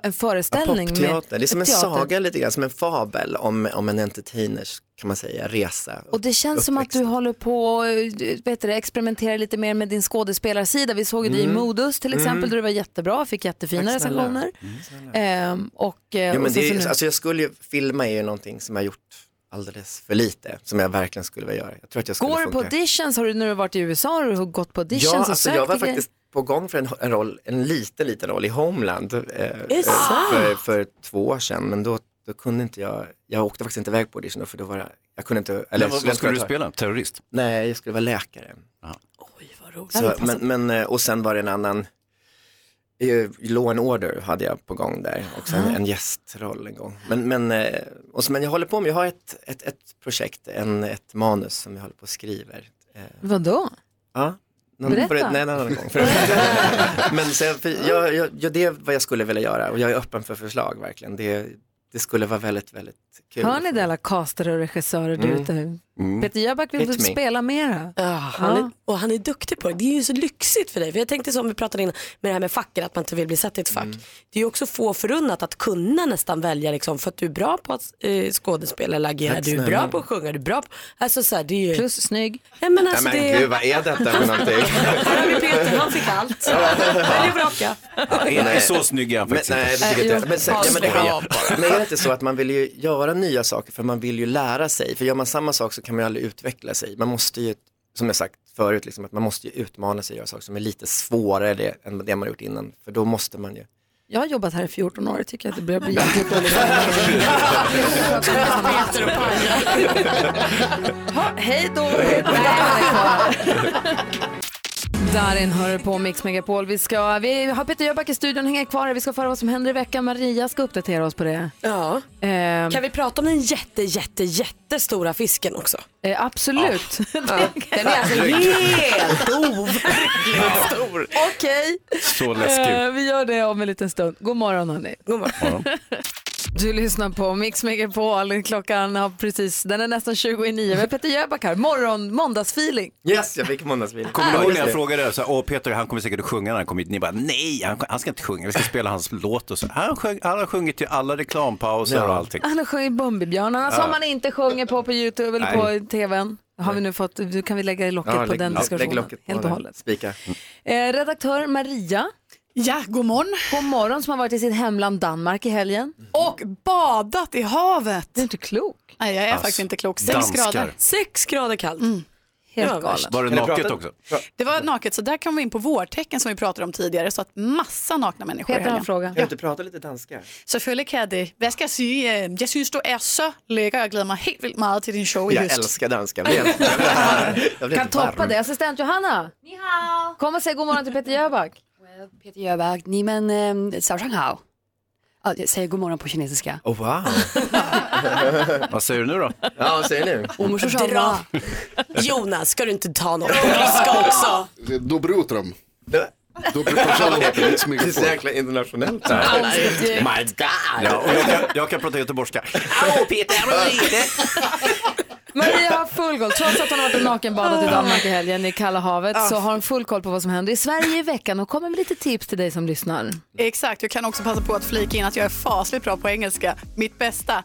[SPEAKER 1] en föreställning. med-
[SPEAKER 23] Popteater, det är som en
[SPEAKER 1] teater.
[SPEAKER 23] saga lite grann, som en fabel om, om en entertainers kan man säga, resa.
[SPEAKER 1] Och det känns som att du håller på och eh, vet du, det, experimenterar lite mer med din skådespelarsida. Vi såg ju dig i
[SPEAKER 23] Mm.
[SPEAKER 1] Modus till exempel
[SPEAKER 23] Mm.
[SPEAKER 1] där du var jättebra, fick jättefina
[SPEAKER 23] Tack snälla.
[SPEAKER 1] recensioner. Ehm, och, eh,
[SPEAKER 23] Ja,
[SPEAKER 1] och
[SPEAKER 23] men
[SPEAKER 1] sen
[SPEAKER 23] det
[SPEAKER 1] så
[SPEAKER 23] är,
[SPEAKER 1] nu-
[SPEAKER 23] alltså jag skulle ju, filma är ju någonting som jag gjort alldeles för lite, som jag verkligen skulle vilja göra. Jag tror att jag skulle
[SPEAKER 1] Går du
[SPEAKER 23] funka.
[SPEAKER 1] på auditions? Har du, när du har varit i USA har du gått på auditions
[SPEAKER 23] Ja,
[SPEAKER 1] och
[SPEAKER 23] alltså
[SPEAKER 1] sökt
[SPEAKER 23] jag var
[SPEAKER 1] till grejer?
[SPEAKER 23] faktiskt på gång för en, en roll, en liten, liten roll i Homeland eh,
[SPEAKER 1] det
[SPEAKER 23] eh,
[SPEAKER 1] sant?
[SPEAKER 23] för, för två år sedan, men då, då kunde inte jag, jag åkte faktiskt inte iväg på audition för då var jag, jag kunde inte,
[SPEAKER 3] Men vad-
[SPEAKER 23] så-
[SPEAKER 3] vad skulle du
[SPEAKER 23] jag-
[SPEAKER 3] spela? Terrorist?
[SPEAKER 23] Nej, jag skulle vara läkare. Så,
[SPEAKER 3] roligt.
[SPEAKER 23] men, men, eh, och sen var det en annan, eh, Law and Order hade jag på gång där, också en,
[SPEAKER 3] Ah.
[SPEAKER 23] en gästroll en gång. Men, men, eh, och så, men jag håller på med, jag har ett, ett, ett projekt, en, ett manus som jag håller på och skriver. Eh,
[SPEAKER 1] Vadå?
[SPEAKER 23] ja,
[SPEAKER 1] Berätta.
[SPEAKER 23] på det- nej, en annan gång. men så, jag- för jag, jag, jag, det är vad jag skulle vilja göra och jag är öppen för förslag verkligen. Det, det skulle vara väldigt, väldigt kul.
[SPEAKER 1] Hör ni det alla castare och regissörer där
[SPEAKER 23] Mm.
[SPEAKER 1] ute?
[SPEAKER 23] Mm.
[SPEAKER 1] Peter Jöback vill
[SPEAKER 23] Hit me.
[SPEAKER 1] spela mera.
[SPEAKER 2] han är, och han är duktig på det. Det är ju så lyxigt för dig. För jag tänkte som vi pratade innan med det här med facken, att man inte vill bli satt i ett fack.
[SPEAKER 23] Mm.
[SPEAKER 2] Det är ju också få förunnat att kunna nästan välja liksom, för att du är bra på att eh, skådespela eller agera,
[SPEAKER 23] Tack
[SPEAKER 2] du är
[SPEAKER 23] snälla.
[SPEAKER 2] bra på att sjunga, du är bra på... Alltså så här, det är ju...
[SPEAKER 1] Plus snygg.
[SPEAKER 2] Ja, men alltså,
[SPEAKER 23] Nej, men
[SPEAKER 2] det...
[SPEAKER 23] gud, vad är detta för någonting?
[SPEAKER 2] Här har vi Peter, han fick allt. Välj och vraka. eh,
[SPEAKER 3] Ena är så snygg är han faktiskt
[SPEAKER 23] men, nej, det
[SPEAKER 3] inte.
[SPEAKER 23] tycker jag inte.
[SPEAKER 3] Nej,
[SPEAKER 23] Men, sen,
[SPEAKER 3] jag
[SPEAKER 23] ja, men, det
[SPEAKER 3] skojar
[SPEAKER 23] har, men är det inte så att man vill ju göra nya saker för man vill ju lära sig. För gör man samma sak så kan man ju aldrig utveckla sig. Man måste ju, som jag sagt förut, liksom, att man måste ju utmana sig och göra saker som är lite svårare det, än det man har gjort innan. För då måste man ju.
[SPEAKER 1] Jag har jobbat här i 14 år, jag tycker att det börjar bli jäkligt dåligt. Ha, Hej då! Nej, jag är kvar. Darin hör på Mix Megapol. Vi, ska, vi har Peter Jöback i studion, hänger kvar här. Vi ska föra vad som händer i veckan. Maria ska uppdatera oss på det.
[SPEAKER 2] Ja.
[SPEAKER 1] Ehm.
[SPEAKER 2] Kan vi prata om den jätte, jätte, jättestora fisken också?
[SPEAKER 1] Eh, absolut.
[SPEAKER 2] Den är alltså helt overkligt
[SPEAKER 3] stor.
[SPEAKER 1] Okej.
[SPEAKER 3] Så läskigt.
[SPEAKER 1] Eh, vi gör det om en liten stund. God morgon hörni.
[SPEAKER 2] God morgon.
[SPEAKER 1] du lyssnar på Mix Megapol. Klockan har precis, den är nästan 20 i nio med Peter Jöback här. Morgon, måndagsfeeling.
[SPEAKER 23] Yes, jag fick måndagsbil.
[SPEAKER 3] Kommer du
[SPEAKER 23] Ja,
[SPEAKER 3] ihåg
[SPEAKER 23] just
[SPEAKER 3] när jag
[SPEAKER 23] det.
[SPEAKER 3] frågade så här, Åh, Peter, han kommer säkert att sjunga när han kommer hit. Ni bara, nej, han, han ska inte sjunga, vi ska spela hans låt och så. Han, sjöng, han har sjungit till alla reklampauser och allting.
[SPEAKER 1] Han har sjungit Bumbibjörnarna
[SPEAKER 3] Ja.
[SPEAKER 1] som man inte sjunger på på Youtube eller
[SPEAKER 3] Nej.
[SPEAKER 1] på TVn. Har vi nu fått, du kan vi lägga i locket på
[SPEAKER 23] lägg-
[SPEAKER 1] den
[SPEAKER 23] ja, lägg
[SPEAKER 1] diskussionen
[SPEAKER 23] locket på
[SPEAKER 1] helt och
[SPEAKER 23] den.
[SPEAKER 1] hållet.
[SPEAKER 23] Spika.
[SPEAKER 1] Eh, redaktör Maria.
[SPEAKER 22] Ja, god morgon.
[SPEAKER 1] God morgon som har varit i sitt hemland Danmark i helgen.
[SPEAKER 22] Och badat i havet.
[SPEAKER 1] Det är inte klok.
[SPEAKER 22] Nej, jag är faktiskt inte klok. Sex
[SPEAKER 3] danskar.
[SPEAKER 22] grader. Mm.
[SPEAKER 2] Sex grader kallt.
[SPEAKER 22] Helt
[SPEAKER 2] Ja,
[SPEAKER 22] galet.
[SPEAKER 3] Var det naket också?
[SPEAKER 22] Det var naket, så där kom vi in på vårtecken som vi pratade om tidigare. Så att massa nakna människor i
[SPEAKER 1] Peter har en
[SPEAKER 22] helgen.
[SPEAKER 1] fråga.
[SPEAKER 23] Kan du inte prata lite danska?
[SPEAKER 22] Selvfølgelig kan jeg det. Hvad skal jeg sige? Øh, Jeg synes, du er så lækker. Jeg glæder mig helt vildt meget til din show i
[SPEAKER 23] Jag
[SPEAKER 22] høst.
[SPEAKER 23] älskar danska. Jag blev- jag blev- jag blev
[SPEAKER 1] Kan
[SPEAKER 23] helt
[SPEAKER 1] toppa
[SPEAKER 23] varm.
[SPEAKER 1] det. Assistent Johanna. Kom och säg god morgon till Peter Jöback.
[SPEAKER 28] Peter Jöback, ni men eh, Sao Shanghao. Ja, jag säger god morgon på kinesiska.
[SPEAKER 23] Oh, wow.
[SPEAKER 3] Vad säger du nu då?
[SPEAKER 23] Ja, vad säger ni?
[SPEAKER 2] Dra. Jonas, ska du inte ta något? Ryska också.
[SPEAKER 7] Då bryter de. Då
[SPEAKER 23] Det är så jäkla internationellt.
[SPEAKER 3] My God. Ja, och jag, kan, jag kan prata göteborgska.
[SPEAKER 1] Maria har full koll. Trots att hon har varit och nakenbadat i Danmark i helgen i kalla havet
[SPEAKER 22] Ah.
[SPEAKER 1] så har hon full koll på vad som händer i Sverige i veckan och kommer med lite tips till dig som lyssnar.
[SPEAKER 2] Mm.
[SPEAKER 22] Exakt, jag kan också passa på att flika in att jag är fasligt bra på engelska. Mitt bästa.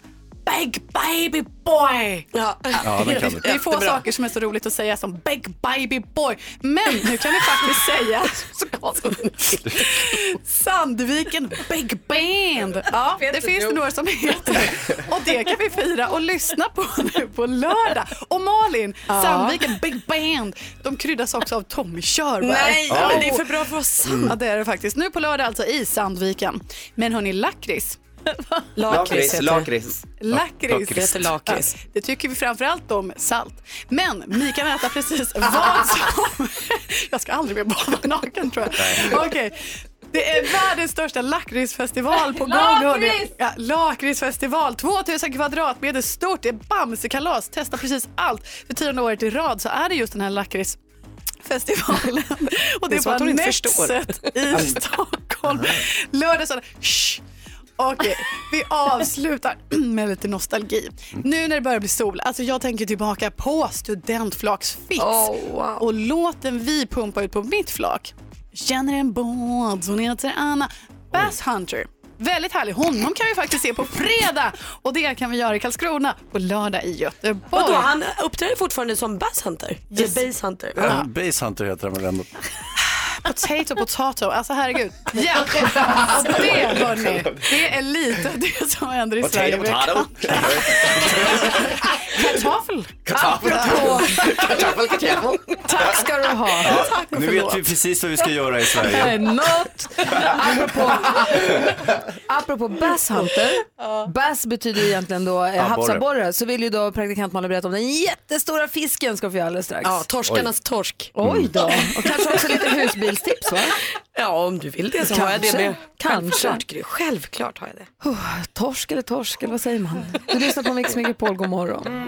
[SPEAKER 22] Big baby boy! Ja.
[SPEAKER 3] Ja, den kan du.
[SPEAKER 22] Det är få saker som är så roligt att säga som big baby boy. Men nu kan vi faktiskt säga så konstigt. Sandviken Big Band. Ja, det finns det några som heter. Och det kan vi fira och lyssna på nu på lördag. Och Malin,
[SPEAKER 2] Ja.
[SPEAKER 22] Sandviken Big Band. De kryddas också av Tommy Körberg.
[SPEAKER 2] Nej, ja, men det är för
[SPEAKER 22] bra för att vara sant. Ja, det är det faktiskt. Nu på lördag alltså i Sandviken. Men hörni, lakrits.
[SPEAKER 23] Lakrits, lakrits.
[SPEAKER 22] Lakrits.
[SPEAKER 23] Det heter lakrits.
[SPEAKER 22] Ja, det tycker vi framförallt om salt. Men ni kan äta precis vad som... jag ska aldrig mer bada naken tror jag. Okej. Det är världens största lakritsfestival på gång. hörni.
[SPEAKER 1] Lakrits!
[SPEAKER 22] Ja, lakritsfestival, 2000 kvadratmeter stort. Det är Bamsekalas, testa precis allt. För tionde året i rad så är det just den här lakritsfestivalen.
[SPEAKER 29] Det
[SPEAKER 22] Och det
[SPEAKER 29] är
[SPEAKER 22] är
[SPEAKER 29] som att
[SPEAKER 22] på
[SPEAKER 29] hon inte förstår.
[SPEAKER 22] Netset i Stockholm. Lördag, söndag. Shh. Okej, vi avslutar med lite nostalgi. Nu när det börjar bli sol, alltså jag tänker tillbaka på studentflaksfix
[SPEAKER 1] Oh, wow.
[SPEAKER 22] och låten vi pumpar ut på mitt flak. Känner en båt, hon heter Anna. Bass Hunter. Väldigt härlig. Honom kan vi faktiskt se på fredag och det kan vi göra i Karlskrona på lördag i Göteborg.
[SPEAKER 2] Vadå, han uppträder fortfarande som Bass Hunter?
[SPEAKER 22] Yes.
[SPEAKER 2] Eller Bass Hunter?
[SPEAKER 3] Ja. Eh, Basehunter heter han väl ändå.
[SPEAKER 22] Potato, potato. Alltså herregud. Ja, och det hörni, det är lite det som händer i Sverige.
[SPEAKER 12] Potato, potato.
[SPEAKER 22] Kartoffel.
[SPEAKER 12] Kartoffel.
[SPEAKER 22] Apropå.
[SPEAKER 12] Kartoffel, kartoffel.
[SPEAKER 22] Tack ska du ha. Tack och
[SPEAKER 3] Nu
[SPEAKER 22] förlåt.
[SPEAKER 3] vet vi precis vad vi ska göra i
[SPEAKER 1] Det är
[SPEAKER 3] Sverige.
[SPEAKER 1] något. Eh, Apropå,
[SPEAKER 4] apropå
[SPEAKER 1] Bass Hunter, bass betyder ju egentligen då eh,
[SPEAKER 4] Abborre.
[SPEAKER 1] havsabborre, så vill ju då praktikant Malin berätta om den jättestora fisken ska vi få göra alldeles strax.
[SPEAKER 2] Ja, torskarnas Oj. Mm. torsk.
[SPEAKER 1] Oj då, och kanske också lite husbilstips va?
[SPEAKER 2] Ja, om du vill det så har jag det.
[SPEAKER 1] Kanske.
[SPEAKER 2] Med.
[SPEAKER 1] Kanske.
[SPEAKER 2] Självklart, Gry. Självklart har jag det.
[SPEAKER 1] Oh, torsk eller torsk, eller vad säger man? Du lyssnar på Mix Megapol, god morgon.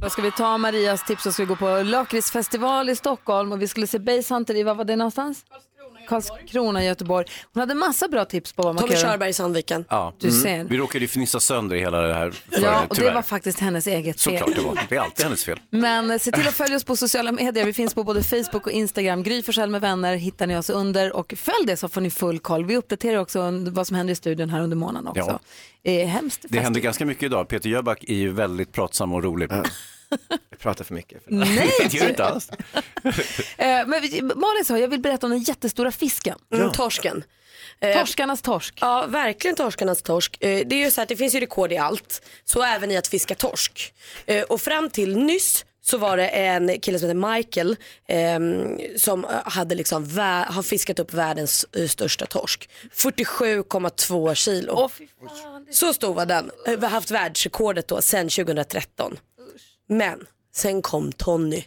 [SPEAKER 1] Då ska vi ta Marias tips och ska vi gå på lakritsfestival i Stockholm och vi skulle se Basehunter i, vad var det någonstans? Karlskrona, Göteborg. Hon hade massa bra tips på vad man
[SPEAKER 2] Tommy
[SPEAKER 1] kan göra.
[SPEAKER 2] Körberg i Sandviken.
[SPEAKER 3] Ja.
[SPEAKER 1] Du ser.
[SPEAKER 3] Vi råkade ju fnissa sönder hela det här
[SPEAKER 1] Ja,
[SPEAKER 3] föreläget,
[SPEAKER 1] och det
[SPEAKER 3] tyvärr.
[SPEAKER 1] var faktiskt hennes eget fel.
[SPEAKER 3] Såklart det var. Det är alltid hennes fel.
[SPEAKER 1] Men eh, se till att följa oss på sociala medier. Vi finns på både Facebook och Instagram. Gry Forssell med vänner hittar ni oss under och följ det så får ni full koll. Vi uppdaterar också under- vad som händer i studion här under månaden också. Det är hemskt.
[SPEAKER 3] Det händer ganska mycket idag. Peter Jöback är ju väldigt pratsam och rolig.
[SPEAKER 23] Jag pratar för mycket.
[SPEAKER 1] Nej!
[SPEAKER 3] det gör du inte alls.
[SPEAKER 1] Eh, Men vi- Malin sa, jag vill berätta om den jättestora fisken.
[SPEAKER 2] Mm, torsken. Eh,
[SPEAKER 1] Torskarnas torsk.
[SPEAKER 2] Ja, verkligen torskarnas torsk. Eh, Det är ju så att det finns ju rekord i allt, så även i att fiska torsk. Eh, Och fram till nyss så var det en kille som heter Michael ehm, som eh, hade liksom vä- har fiskat upp världens eh, största torsk. 47,2 kilo. så stor var den. Eh, Vi har haft världsrekordet då sedan 2013. Men sen kom Tony.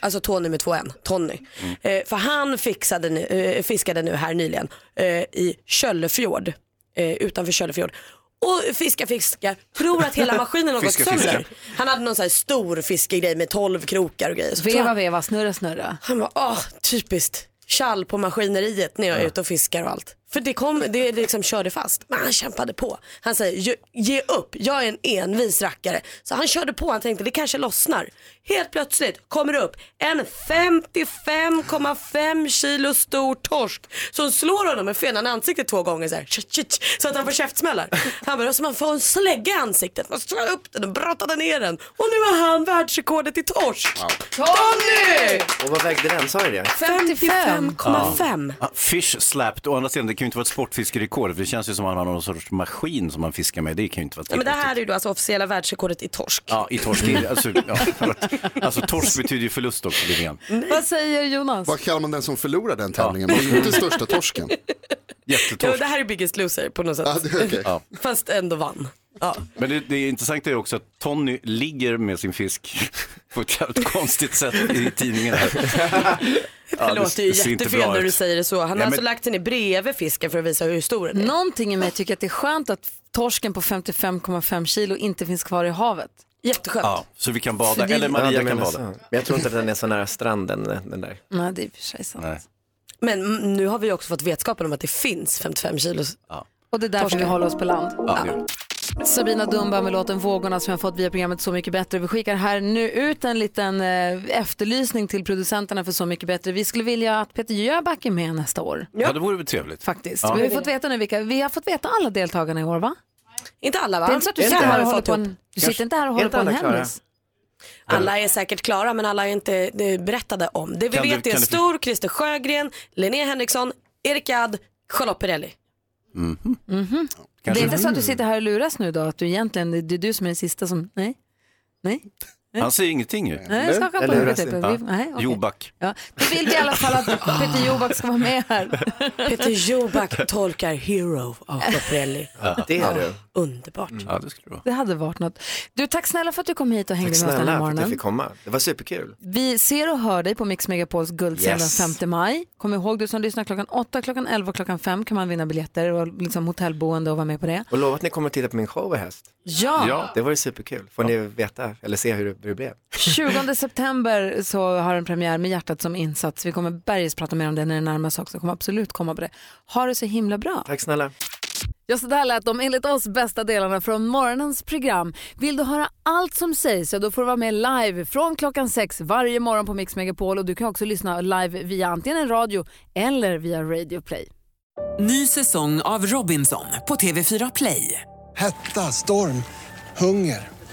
[SPEAKER 2] Alltså Tony med två N, Tony.
[SPEAKER 12] Mm.
[SPEAKER 2] Eh, för han fixade nu, eh, fiskade nu här nyligen eh, i Köllefjord, eh, utanför Köllefjord. Och fiska, fiska, tror att hela maskinen har gått
[SPEAKER 12] Fiska, fiska.
[SPEAKER 2] sönder. Han hade någon sån här stor fiskegrej med 12 krokar och grejer. Så tror
[SPEAKER 1] Veva,
[SPEAKER 2] han,
[SPEAKER 1] veva, snurra, snurra.
[SPEAKER 2] han bara, åh typiskt tjall på maskineriet när jag är ute och fiskar och allt. För det, kom, det liksom körde fast. Men han kämpade på. Han säger, "Ge- ge upp, jag är en envis rackare. Så han körde på, han tänkte det kanske lossnar. Helt plötsligt kommer det upp en 55,5 kilo stor torsk som slår honom med fenan i ansiktet två gånger så, här, Tch, tch, tch, så att han får käftsmällar. Han bara, som man får en slägga i ansiktet. Man slår upp den och brottade ner den. Och nu har han världsrekordet i torsk. Tony!
[SPEAKER 23] Och vad vägde den, sa du det?
[SPEAKER 2] 55,5.
[SPEAKER 3] Ja. Ja, Fish slapped, å andra sidan det kan ju inte vara ett sportfiskerekord för det känns ju som att han har någon sorts maskin som han fiskar med, det kan ju inte vara
[SPEAKER 2] Ja, men det här är ju då alltså officiella världsrekordet i torsk.
[SPEAKER 3] Ja, i torsk. Alltså, ja, förlåt. alltså torsk betyder ju förlust också lite grann.
[SPEAKER 1] Vad säger Jonas?
[SPEAKER 7] Vad kallar man den som förlorar den tävlingen? Man är inte största torsken.
[SPEAKER 2] Ja, det här är Biggest Loser på något sätt.
[SPEAKER 7] Ja, det är okej.
[SPEAKER 3] Ja.
[SPEAKER 2] Fast ändå vann. Ja.
[SPEAKER 3] Men det, det intressanta är också att Tony ligger med sin fisk på ett jävligt konstigt sätt i tidningen här. Ja,
[SPEAKER 2] Det låter ju
[SPEAKER 3] ser inte
[SPEAKER 2] jättefel
[SPEAKER 3] bra
[SPEAKER 2] när du
[SPEAKER 3] ut.
[SPEAKER 2] säger det så. Han har
[SPEAKER 3] Nej,
[SPEAKER 2] alltså
[SPEAKER 3] men-
[SPEAKER 2] lagt den i bredvid fisken för att visa hur stor den är.
[SPEAKER 1] Någonting i mig tycker att det är skönt att torsken på 55,5 kilo inte finns kvar i havet.
[SPEAKER 2] Jätteskönt.
[SPEAKER 3] Ja, så vi kan bada,
[SPEAKER 23] För det-
[SPEAKER 3] eller
[SPEAKER 23] Ja,
[SPEAKER 3] Maria
[SPEAKER 23] du
[SPEAKER 3] kan
[SPEAKER 23] menar
[SPEAKER 3] bada.
[SPEAKER 23] så. Men jag tror inte att den är så nära stranden, den den där.
[SPEAKER 1] Nej, det är i och för sig sant.
[SPEAKER 2] Men mm, nu har vi ju också fått vetskapen om att det finns 55 kilos.
[SPEAKER 1] Och det är därför
[SPEAKER 2] Torsken.
[SPEAKER 1] vi håller oss på land.
[SPEAKER 2] Ja, det gör
[SPEAKER 1] Sabina Dumba med låten Vågorna som jag fått via programmet Så mycket bättre. Vi skickar här nu ut en liten eh, efterlysning till producenterna för Så mycket bättre. Vi skulle vilja att Peter Jöback är med nästa år.
[SPEAKER 3] Ja, det vore väl trevligt.
[SPEAKER 1] Faktiskt.
[SPEAKER 3] Ja.
[SPEAKER 1] Vi, har fått veta nu vilka, vi har fått veta alla deltagarna i år va?
[SPEAKER 2] Inte alla va?
[SPEAKER 1] Det är inte så att du sitter här och håller på en, du sitter inte här och håller på en hemlis.
[SPEAKER 2] Alla är säkert klara men alla är inte eh, berättade om. Det vi
[SPEAKER 3] Kan du-
[SPEAKER 2] vet är
[SPEAKER 3] kan du-
[SPEAKER 2] Stor, Christer Sjögren, Linnea Henriksson, Erik Gadd, Charlotte Perrelli.
[SPEAKER 3] Mhm.
[SPEAKER 1] Mhm. Det är
[SPEAKER 3] Kanske-
[SPEAKER 1] inte så att du sitter här och luras nu då? Att du egentligen, det är du som är den sista som, nej? Nej?
[SPEAKER 3] Han säger ingenting ju.
[SPEAKER 1] Nej, skaka på Eller hur? huvudet, typ. Vi- nej, okej.
[SPEAKER 3] Joback.
[SPEAKER 1] Ja. Det vill vi i alla fall att Peter Jöback ska vara med här.
[SPEAKER 2] Peter Jöback tolkar Hero av Schiaparelli.
[SPEAKER 3] Ja. Det är du.
[SPEAKER 2] Underbart.
[SPEAKER 3] Ja, det skulle det vara.
[SPEAKER 1] Det hade varit något. Du, tack snälla för att du kom hit och hängde
[SPEAKER 23] Tack
[SPEAKER 1] med oss den här
[SPEAKER 23] snälla för att jag
[SPEAKER 1] morgonen.
[SPEAKER 23] fick komma. Det var superkul.
[SPEAKER 1] Vi ser och hör dig på Mix Megapols guldscen
[SPEAKER 23] Yes.
[SPEAKER 1] den 5 maj. Kom ihåg du som lyssnar klockan 8, klockan 11 och klockan 5 kan man vinna biljetter och liksom hotellboende och vara med på det.
[SPEAKER 23] Och lova att ni kommer att titta på min show i höst.
[SPEAKER 1] Ja. Ja.
[SPEAKER 23] Det var ju superkul. Får ni veta, eller se hur det, hur det blev.
[SPEAKER 1] 20 september så har den premiär med hjärtat som insats. Vi kommer bergis prata mer om det när det närmar sig också. Kommer absolut komma på det. Ha det så himla bra.
[SPEAKER 23] Tack snälla.
[SPEAKER 1] Ja, så där lät de enligt oss bästa delarna från morgonens program. Vill du höra allt som sägs så då får du vara med live från klockan sex varje morgon på Mix Megapol och du kan också lyssna live via antingen en radio eller via Radio Play.
[SPEAKER 9] Ny säsong av Robinson på TV4 Play.
[SPEAKER 30] Hetta, storm, hunger.